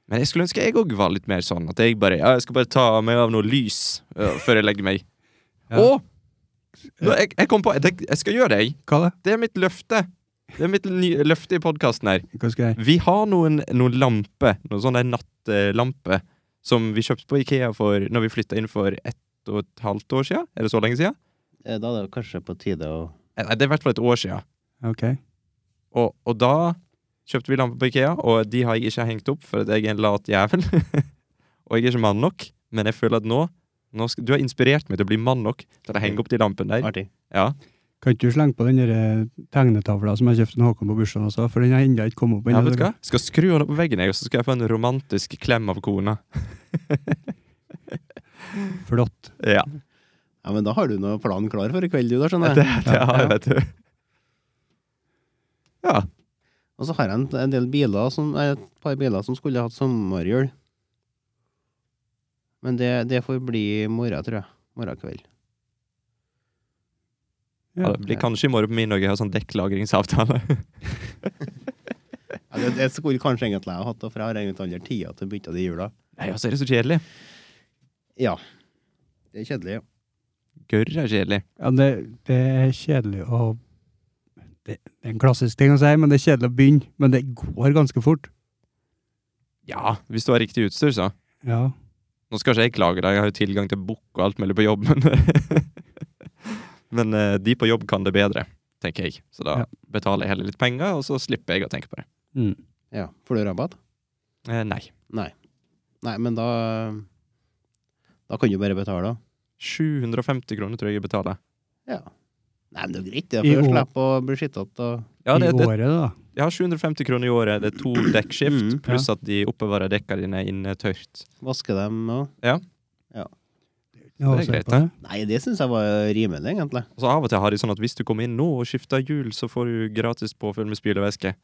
Speaker 2: Men jeg skulle ønske jeg òg var litt mer sånn. At jeg bare ja, jeg skal bare ta meg av noe lys øh, før jeg legger meg.
Speaker 1: Ja.
Speaker 2: Og nå, jeg, jeg kom på det, Jeg skal gjøre det, jeg.
Speaker 1: Hva da?
Speaker 2: Det er mitt løfte. Det er mitt ny, løfte i podkasten her.
Speaker 1: Hva skal jeg?
Speaker 2: Vi har noen, noen lamper, noen sånne nattlamper, som vi kjøpte på Ikea for når vi flytta inn for ett og et halvt år siden. Er det så lenge siden?
Speaker 3: Eh, Da er det kanskje på tide å
Speaker 2: Eh, Nei, det er i hvert fall et år siden.
Speaker 1: Ok.
Speaker 2: Og, og da kjøpte vi lamper på Ikea, og de har jeg ikke hengt opp, for at jeg er en lat jævel. og jeg er ikke mann nok, men jeg føler at nå, nå skal, Du har inspirert meg til å bli mann nok til å henge opp de lampene der.
Speaker 3: Artig.
Speaker 2: Ja.
Speaker 1: Kan ikke du slenge på den der eh, tegnetavla som jeg kjøpte til Håkon på bursdagen også, for den har ennå ikke kommet opp
Speaker 2: ja,
Speaker 1: ennå.
Speaker 2: vet du hva? Skal skru den opp på veggen, jeg, og så skal jeg få en romantisk klem av kona.
Speaker 1: Flott.
Speaker 2: Ja,
Speaker 3: Ja, men da har du noe plan klar for i kveld, du da, skjønner
Speaker 2: Det,
Speaker 3: jeg.
Speaker 2: det har jeg, vet du. Ja.
Speaker 3: Og så har jeg en, en del biler som, eh, et par biler som skulle hatt sommerhjul. Men det, det får bli i morgen, tror jeg. Morgen kveld.
Speaker 2: Ja,
Speaker 1: Ja.
Speaker 2: det blir kanskje i morgen på min òg. Jeg har sånn dekklagringsavtale.
Speaker 3: Ja, det, det skulle kanskje egentlig jeg ha hatt, da, for jeg har egentlig aldri tida til å bytte de hjula.
Speaker 2: Nei, altså, er det så kjedelig?
Speaker 3: Ja. Det er kjedelig, ja.
Speaker 2: Gørr er kjedelig.
Speaker 1: Ja, det, det er kjedelig å det, det er en klassisk ting å si, men det er kjedelig å begynne. Men det går ganske fort.
Speaker 2: Ja, hvis du har riktig utstyr, så.
Speaker 1: Ja.
Speaker 2: Nå skal ikke jeg klage, da. Jeg har jo tilgang til bukk og alt mulig på jobb, men Men eh, de på jobb kan det bedre, tenker jeg. Så da
Speaker 1: Ja.
Speaker 2: betaler jeg heller litt penger, og så slipper jeg å tenke på det.
Speaker 1: Mm.
Speaker 3: ja. Får du rabatt?
Speaker 2: Eh, nei.
Speaker 3: Nei. Nei, men da Da kan du bare betale, da.
Speaker 2: 750 kroner tror jeg jeg betaler.
Speaker 3: Ja. Nei, men det er greit, det.
Speaker 1: I
Speaker 3: For
Speaker 1: år.
Speaker 3: å slippe å bli skittete og
Speaker 2: Ja,
Speaker 1: I
Speaker 2: det, det,
Speaker 1: året, da.
Speaker 2: ja, 750 kroner i året. Det er to dekkskift,
Speaker 3: Mm,
Speaker 2: pluss at de oppbevarer dekka dine inne tørt.
Speaker 3: Vaske dem og
Speaker 1: Ja,
Speaker 2: Det er
Speaker 1: se
Speaker 2: greit,
Speaker 1: på det.
Speaker 3: Nei, det syns jeg var rimelig, egentlig.
Speaker 2: Og så Av og til har de sånn at hvis du kommer inn nå og skifter hjul, så får du gratis påfyll med spylevæske.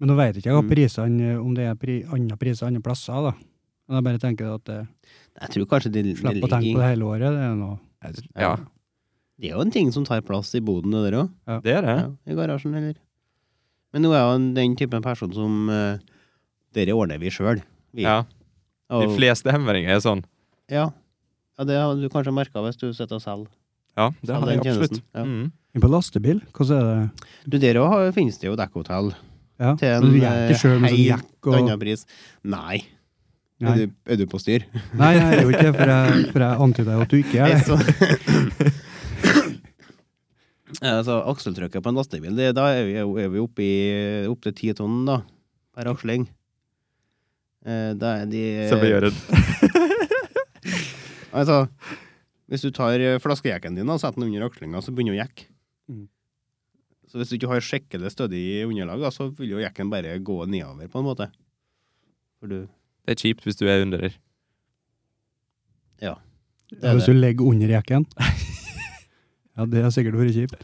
Speaker 1: Men nå vet ikke jeg hva
Speaker 3: Mm.
Speaker 1: prisene, eh, om det er pri, andre priser andre plasser, da. Men jeg bare tenker at det,
Speaker 3: Jeg tror kanskje de, de
Speaker 1: slipper å
Speaker 3: ligger
Speaker 1: tenke på det hele året. Det er noe.
Speaker 2: Ja,
Speaker 3: Det er jo en ting som tar plass i boden, det der òg.
Speaker 2: det er det.
Speaker 3: Ja, I garasjen, eller. Men nå er jeg jo den typen person som eh, Dere ordner vi sjøl. Vi.
Speaker 2: Ja, De
Speaker 3: Og-
Speaker 2: fleste henvendinger er sånn.
Speaker 3: Ja. ja, det har du kanskje merka hvis du sitter og selger.
Speaker 2: Ja, det har
Speaker 3: selger
Speaker 2: jeg
Speaker 3: den
Speaker 2: absolutt.
Speaker 3: tjenesten. Ja.
Speaker 2: Mm.
Speaker 1: Inn på lastebil, hvordan er det?
Speaker 3: Du, Der òg har- finnes det jo dekkhotell.
Speaker 1: Ja.
Speaker 3: Til en,
Speaker 1: Men du gjør ikke sjøl med sånn
Speaker 3: eh,
Speaker 1: jack
Speaker 3: Til
Speaker 1: og
Speaker 3: annen pris. Nei.
Speaker 1: Nei.
Speaker 3: Er, du, er du på styr?
Speaker 1: Nei, jeg er jo ikke det, for jeg, for jeg antyder jo at du ikke er
Speaker 3: Nei,
Speaker 1: det.
Speaker 3: så altså, akseltrykket på en lastebil, det, da er vi, jo- er vi oppe i opptil ti tonn da, per aksling. Eh, Da er de
Speaker 2: Så vi gjør det.
Speaker 3: Altså, hvis du tar eh, flaskejekken din og setter den under akslinga, så begynner jo å jekke.
Speaker 1: Mm.
Speaker 3: Så hvis du ikke har skikkelig stødig underlag, da, så vil jo jekken bare gå nedover, på en måte. For du
Speaker 2: Det er kjipt hvis du er under der.
Speaker 3: det er
Speaker 1: Hvis du ligger under jekken. Ja, det har sikkert vært kjipt.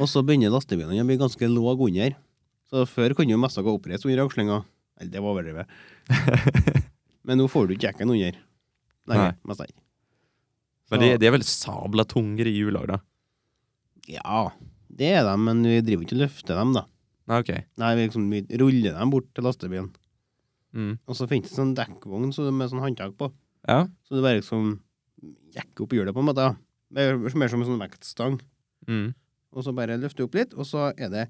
Speaker 3: Og så begynner lastebilene å bli ganske låg under. Så før kunne jo mest gå oppreist under akslinga. Eller, det var overdrevet. Men nå får du ikke jekken under. Nei,
Speaker 2: Nei.
Speaker 3: mest ikke.
Speaker 2: Men de, de er vel sabla tungere i hjul òg, da.
Speaker 3: Ja, det er de, men vi driver ikke og løfter dem, da.
Speaker 2: Nei, ok.
Speaker 3: Nei, vi, liksom, vi ruller dem bort til lastebilen.
Speaker 2: Mm.
Speaker 3: Og så finnes det sånn dekkvogn så- med sånn håndtak på.
Speaker 2: Ja.
Speaker 3: Så det bare liksom jekker opp hjulet, på en måte. da. Det er mer som en sånn vektstang.
Speaker 2: Mm.
Speaker 3: Og så bare løfter du opp litt, og så er det,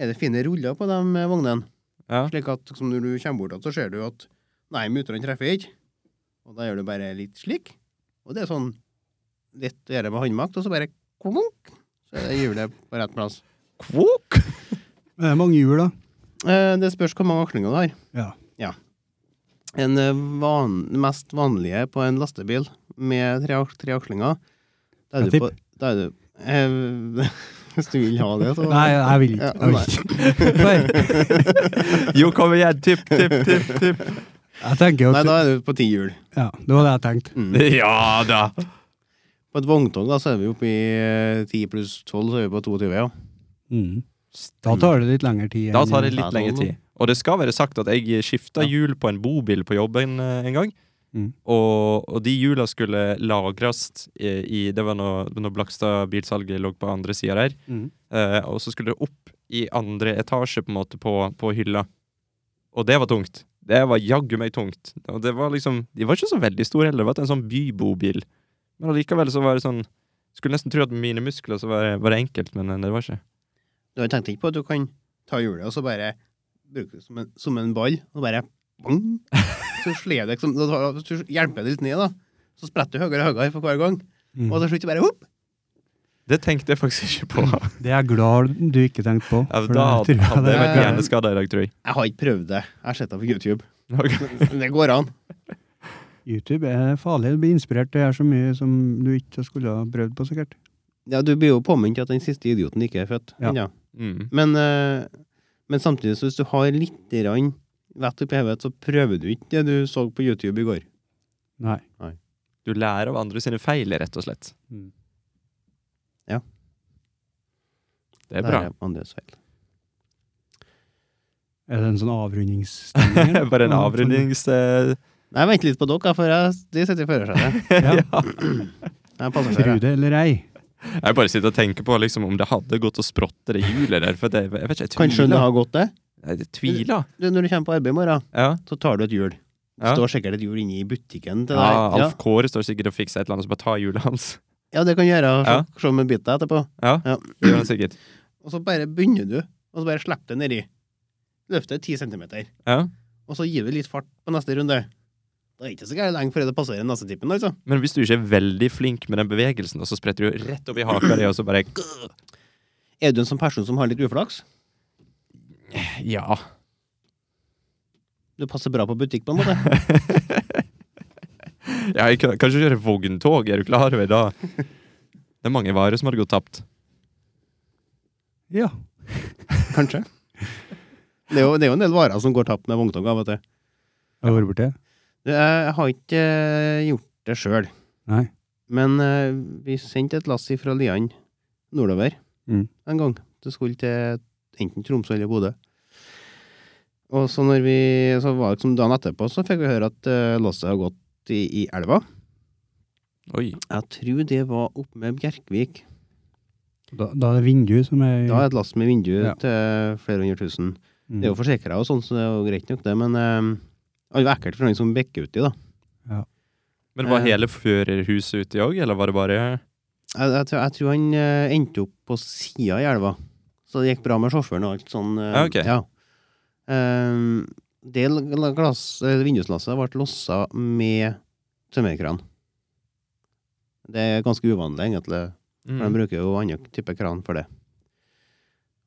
Speaker 3: er det fine ruller på de eh, vognene.
Speaker 2: ja.
Speaker 3: Slik at liksom, når du kommer bort, igjen, så ser du at nei, muterne treffer ikke. Og da gjør du bare litt slik. Og det er sånn litt å gjøre med håndmakt, og så bare kvunk, så er det hjulet på rett plass.
Speaker 2: Kvok!
Speaker 1: Men det er mange hjul, da.
Speaker 3: Eh, det spørs hvor mange akslinger du har.
Speaker 1: Ja.
Speaker 3: En eh, van, mest vanlige på en lastebil med tre, ak- tre akslinger, da er
Speaker 1: Jeg
Speaker 3: du på da er du, eh, Hvis du vil ha det, så
Speaker 1: Nei, jeg vil ikke. Jeg, vil ikke.
Speaker 2: Jo, kom igjen! Tipp, tipp, tipp! tipp.
Speaker 1: jeg tenker jo
Speaker 3: Nei,
Speaker 1: at
Speaker 3: da er du på ti hjul.
Speaker 1: Ja, det var det jeg tenkte.
Speaker 3: Mm.
Speaker 2: Ja da!
Speaker 3: På et vogntog da, så er vi oppe i eh, 10 pluss 12, så er vi på 22, ja.
Speaker 1: Mm. Da tar det litt lengre tid.
Speaker 2: Da
Speaker 1: enn-
Speaker 2: tar det
Speaker 3: Ja,
Speaker 2: litt lengre
Speaker 3: sånn.
Speaker 2: tid. Og det skal være sagt at jeg skifta hjul på en bobil på jobben eh, en gang.
Speaker 1: Mm.
Speaker 2: Og, og de hjula skulle lagres i, i Det var når, når Blakstad bilsalget lå på andre sida der.
Speaker 1: Mm.
Speaker 2: Eh, og så skulle det opp i andre etasje på en måte på, på hylla. Og det var tungt. Det var jaggu meg tungt. Og det var liksom, De var ikke så veldig store heller. Det var en sånn bybobil. Men allikevel så var det sånn Skulle nesten tro at med mine muskler så var det, var det enkelt, men eh, det var ikke.
Speaker 3: Du har tenkt ikke på at du kan ta hjulet og så bare bruke det som en, som en ball, og bare bang! Så slår det liksom, da tar- Hvis du hjelper det litt ned, da, så spretter du høyere og høyere for hver gang.
Speaker 1: Mm.
Speaker 3: Og til slutt bare hopp!
Speaker 2: Det tenkte jeg faktisk ikke på.
Speaker 1: Det er jeg glad du ikke tenkte på.
Speaker 2: Ja,
Speaker 1: for
Speaker 2: da
Speaker 1: det
Speaker 2: hadde
Speaker 1: tror
Speaker 2: hadde jeg
Speaker 1: jeg
Speaker 2: vært
Speaker 1: det-
Speaker 2: hjerneskada i dag, tror jeg.
Speaker 3: Jeg har ikke prøvd det. Jeg har sett det på YouTube.
Speaker 2: Ok.
Speaker 3: Men det går an.
Speaker 1: YouTube er farlig. Du blir inspirert. Det er så mye som du ikke skulle ha prøvd på, sikkert.
Speaker 3: Ja, Du blir jo påminnet at den siste idioten ikke er født.
Speaker 1: Ja.
Speaker 3: ennå.
Speaker 2: Mm.
Speaker 3: Men, eh, men samtidig, så hvis du har litt grann vett oppi hodet, så prøver du ikke det du så på YouTube i går.
Speaker 1: Nei.
Speaker 2: Du lærer av andre sine feil, rett og slett.
Speaker 1: Mm.
Speaker 2: Det er bra.
Speaker 3: Der er andres feil.
Speaker 1: Er det en sånn avrundingsstemning? eller?
Speaker 2: Bare en
Speaker 1: Sånn-
Speaker 2: avrundings... eh,
Speaker 3: Nei, vent litt på dere, for jeg, de sitter i førersetet.
Speaker 1: Ja.
Speaker 3: Jeg er
Speaker 1: sånn, Tru
Speaker 3: passasjer. jeg.
Speaker 1: det eller ei.
Speaker 2: Jeg bare sitter og tenker på liksom, om det hadde gått å sprotte det hjulet der. For det, jeg vet ikke, jeg
Speaker 3: Kan skjønne
Speaker 2: tviler.
Speaker 3: det har gått, det.
Speaker 2: Jeg, jeg tviler.
Speaker 3: Du, når du kommer på arbeid i morgen,
Speaker 2: Ja.
Speaker 3: så tar du et hjul. Det
Speaker 2: Ja.
Speaker 3: står sikkert et hjul inne i butikken til
Speaker 2: Ja,
Speaker 3: deg. Ja,
Speaker 2: Alf Kåre står sikkert og fikser et eller annet, så bare ta hjulet hans.
Speaker 3: ja det kan gjøre. Se,
Speaker 2: Ja.
Speaker 3: se om en bit deg etterpå.
Speaker 2: Ja,
Speaker 3: Ja.
Speaker 2: det gjør han sikkert.
Speaker 3: Og så bare begynner du, og så bare slipper det nedi. Løfter ti centimeter.
Speaker 2: Ja.
Speaker 3: Og så gir du litt fart på neste runde. Det er ikke så gærent lenge før det passerer neste tippen, altså.
Speaker 2: Men hvis du ikke er veldig flink med den bevegelsen, da, så spretter du rett opp i haka di, og så bare
Speaker 3: Er du en sånn person som har litt uflaks?
Speaker 2: Ja.
Speaker 3: Du passer bra på butikk, på en måte.
Speaker 2: ja jeg kan, kanskje kjøre vogntog, er du klar over det? da? Det er mange varer som hadde gått tapt.
Speaker 1: Ja.
Speaker 3: Kanskje. Det er jo, det er jo en del varer som går tapt med vogntoga. vet du.
Speaker 1: Har du vært borti det?
Speaker 3: Jeg har ikke eh, gjort det sjøl,
Speaker 1: Nei.
Speaker 3: men eh, vi sendte et lass fra Lian nordover
Speaker 1: Mm.
Speaker 3: en gang. Det skulle til enten Tromsø eller Bodø. Og så når vi, så var det liksom dagen etterpå, så fikk vi høre at eh, lasset har gått i, i elva.
Speaker 2: Oi.
Speaker 3: Jeg tror det var oppe med Bjerkvik.
Speaker 1: Da, da er det vindu som er
Speaker 3: Da er et lass med vindu
Speaker 1: Ja.
Speaker 3: til flere hundre tusen.
Speaker 1: Mm.
Speaker 3: Det er jo forsikra og sånn, så det er jo greit nok, det, men eh, det er jo ekkelt for noen som bikker uti, da.
Speaker 2: Men var
Speaker 3: Eh.
Speaker 2: hele førerhuset ute òg, eller var det bare
Speaker 3: Jeg, jeg, tror, jeg tror han eh, endte opp på sida i elva, så det gikk bra med sjåføren og alt sånn. eh,
Speaker 2: Ja, ok.
Speaker 3: ja. Ehm, det l- l- glass, eh, vinduslasset ble lossa med tømmerkran. Det er ganske uvanlig, egentlig.
Speaker 2: Mm.
Speaker 3: For de bruker jo andre type kran for det.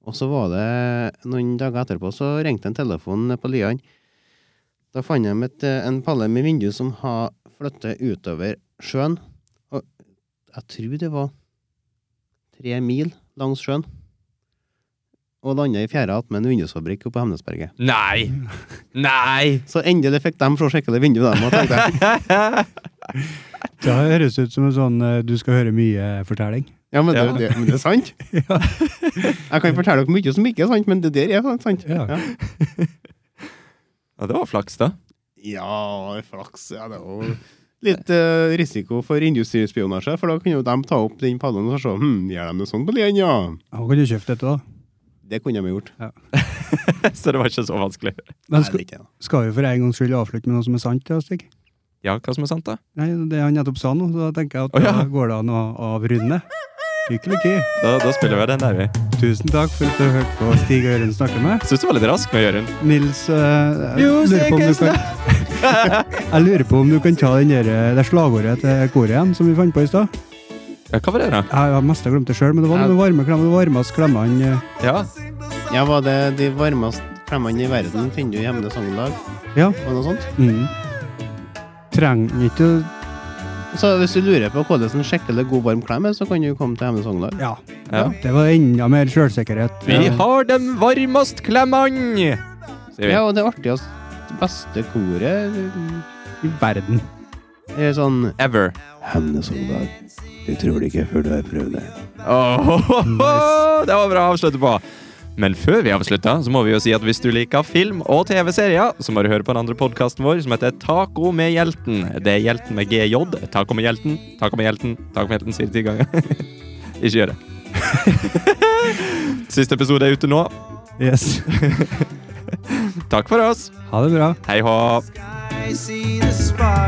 Speaker 3: Og så var det noen dager etterpå, så ringte en telefon ned på Lian. Da fant de et, eh, en palle med vindu som har flyttet utover sjøen. Og jeg tror det var tre mil langs sjøen. Og landa i fjæra attmed en vindusfabrikk oppe på Hemnesberget.
Speaker 2: Nei! Nei!
Speaker 3: Så endelig fikk de se skikkelig vindu, dem. Og tenkte jeg,
Speaker 1: Det høres ut som en sånn eh, du skal høre mye-fortelling.
Speaker 3: ja, men det,
Speaker 2: Ja.
Speaker 3: det, men det er sant. Jeg kan fortelle dere mye som ikke er sant, men det der er sant.
Speaker 1: Ja.
Speaker 2: Ja, det var flaks, da.
Speaker 3: Ja, det er flaks. Ja, det er jo litt eh, risiko for industrispionasje, for da kunne jo de ta opp den pallen og se hm, gjør de det sånn på Lien, ja?
Speaker 1: Han kan jo kjøpe dette, da.
Speaker 3: Det kunne de gjort.
Speaker 2: Så det var ikke så vanskelig.
Speaker 1: Men
Speaker 3: Nei,
Speaker 1: skal,
Speaker 3: det er ikke det.
Speaker 1: skal vi for en gangs skyld avslutte med noe som er sant? Ja, Stig?
Speaker 2: Ja, hva som er sant, da?
Speaker 1: Nei, det han nettopp sa nå, så da tenker jeg at
Speaker 2: Å, ja.
Speaker 1: da går det an å avrunde. Lykke, lykke.
Speaker 2: Da, da spiller vi den der, vi.
Speaker 1: Tusen takk for at du hørte på Stig og Jørund snakke med.
Speaker 2: Syns du var litt rask med Jørund.
Speaker 1: Nils, eh, jeg
Speaker 2: Jo, se
Speaker 1: lurer på om
Speaker 2: hva
Speaker 1: du kan Jeg lurer på om du kan ta den der, eh, det slagordet til koret igjen, som vi fant på i stad.
Speaker 2: Ja, hva var det, da?
Speaker 1: Jeg har mest glemt det sjøl, men det var noe med varme klem, det varmeste klemmene eh,
Speaker 2: Ja.
Speaker 3: Ja, var det de varmeste klemmene i verden finner du i Hemnes Sogndal,
Speaker 1: Ja.
Speaker 3: og noe sånt?
Speaker 1: Mm. Trenger ikke å
Speaker 3: Så hvis du lurer på hvordan en skikkelig god varm klem er, så kan du komme til Hemnes Sogndal.
Speaker 1: Ja.
Speaker 2: ja.
Speaker 1: Det var enda mer sjølsikkerhet.
Speaker 2: Vi har den varmest klemmene! Sier vi.
Speaker 3: Ja, og det artigste, beste koret
Speaker 1: i verden.
Speaker 3: er sånn
Speaker 2: Ever.
Speaker 3: Hemnes Sogndal. Du tror det ikke før du har prøvd det.
Speaker 2: Åh, Det var bra å avslutte på. Men før vi avslutter, så må vi jo si at hvis du liker film og TV-serier, så må du høre på den andre podkasten vår som heter Taco med hjelten. Det er hjelten med GJ. Taco med hjelten, taco med hjelten, taco med hjelten sier det ti ganger. Ikke gjør det. Siste episode er ute nå.
Speaker 1: Yes.
Speaker 2: Takk for oss.
Speaker 1: Ha det bra.
Speaker 2: Hei hå.
Speaker 5: I see the spark.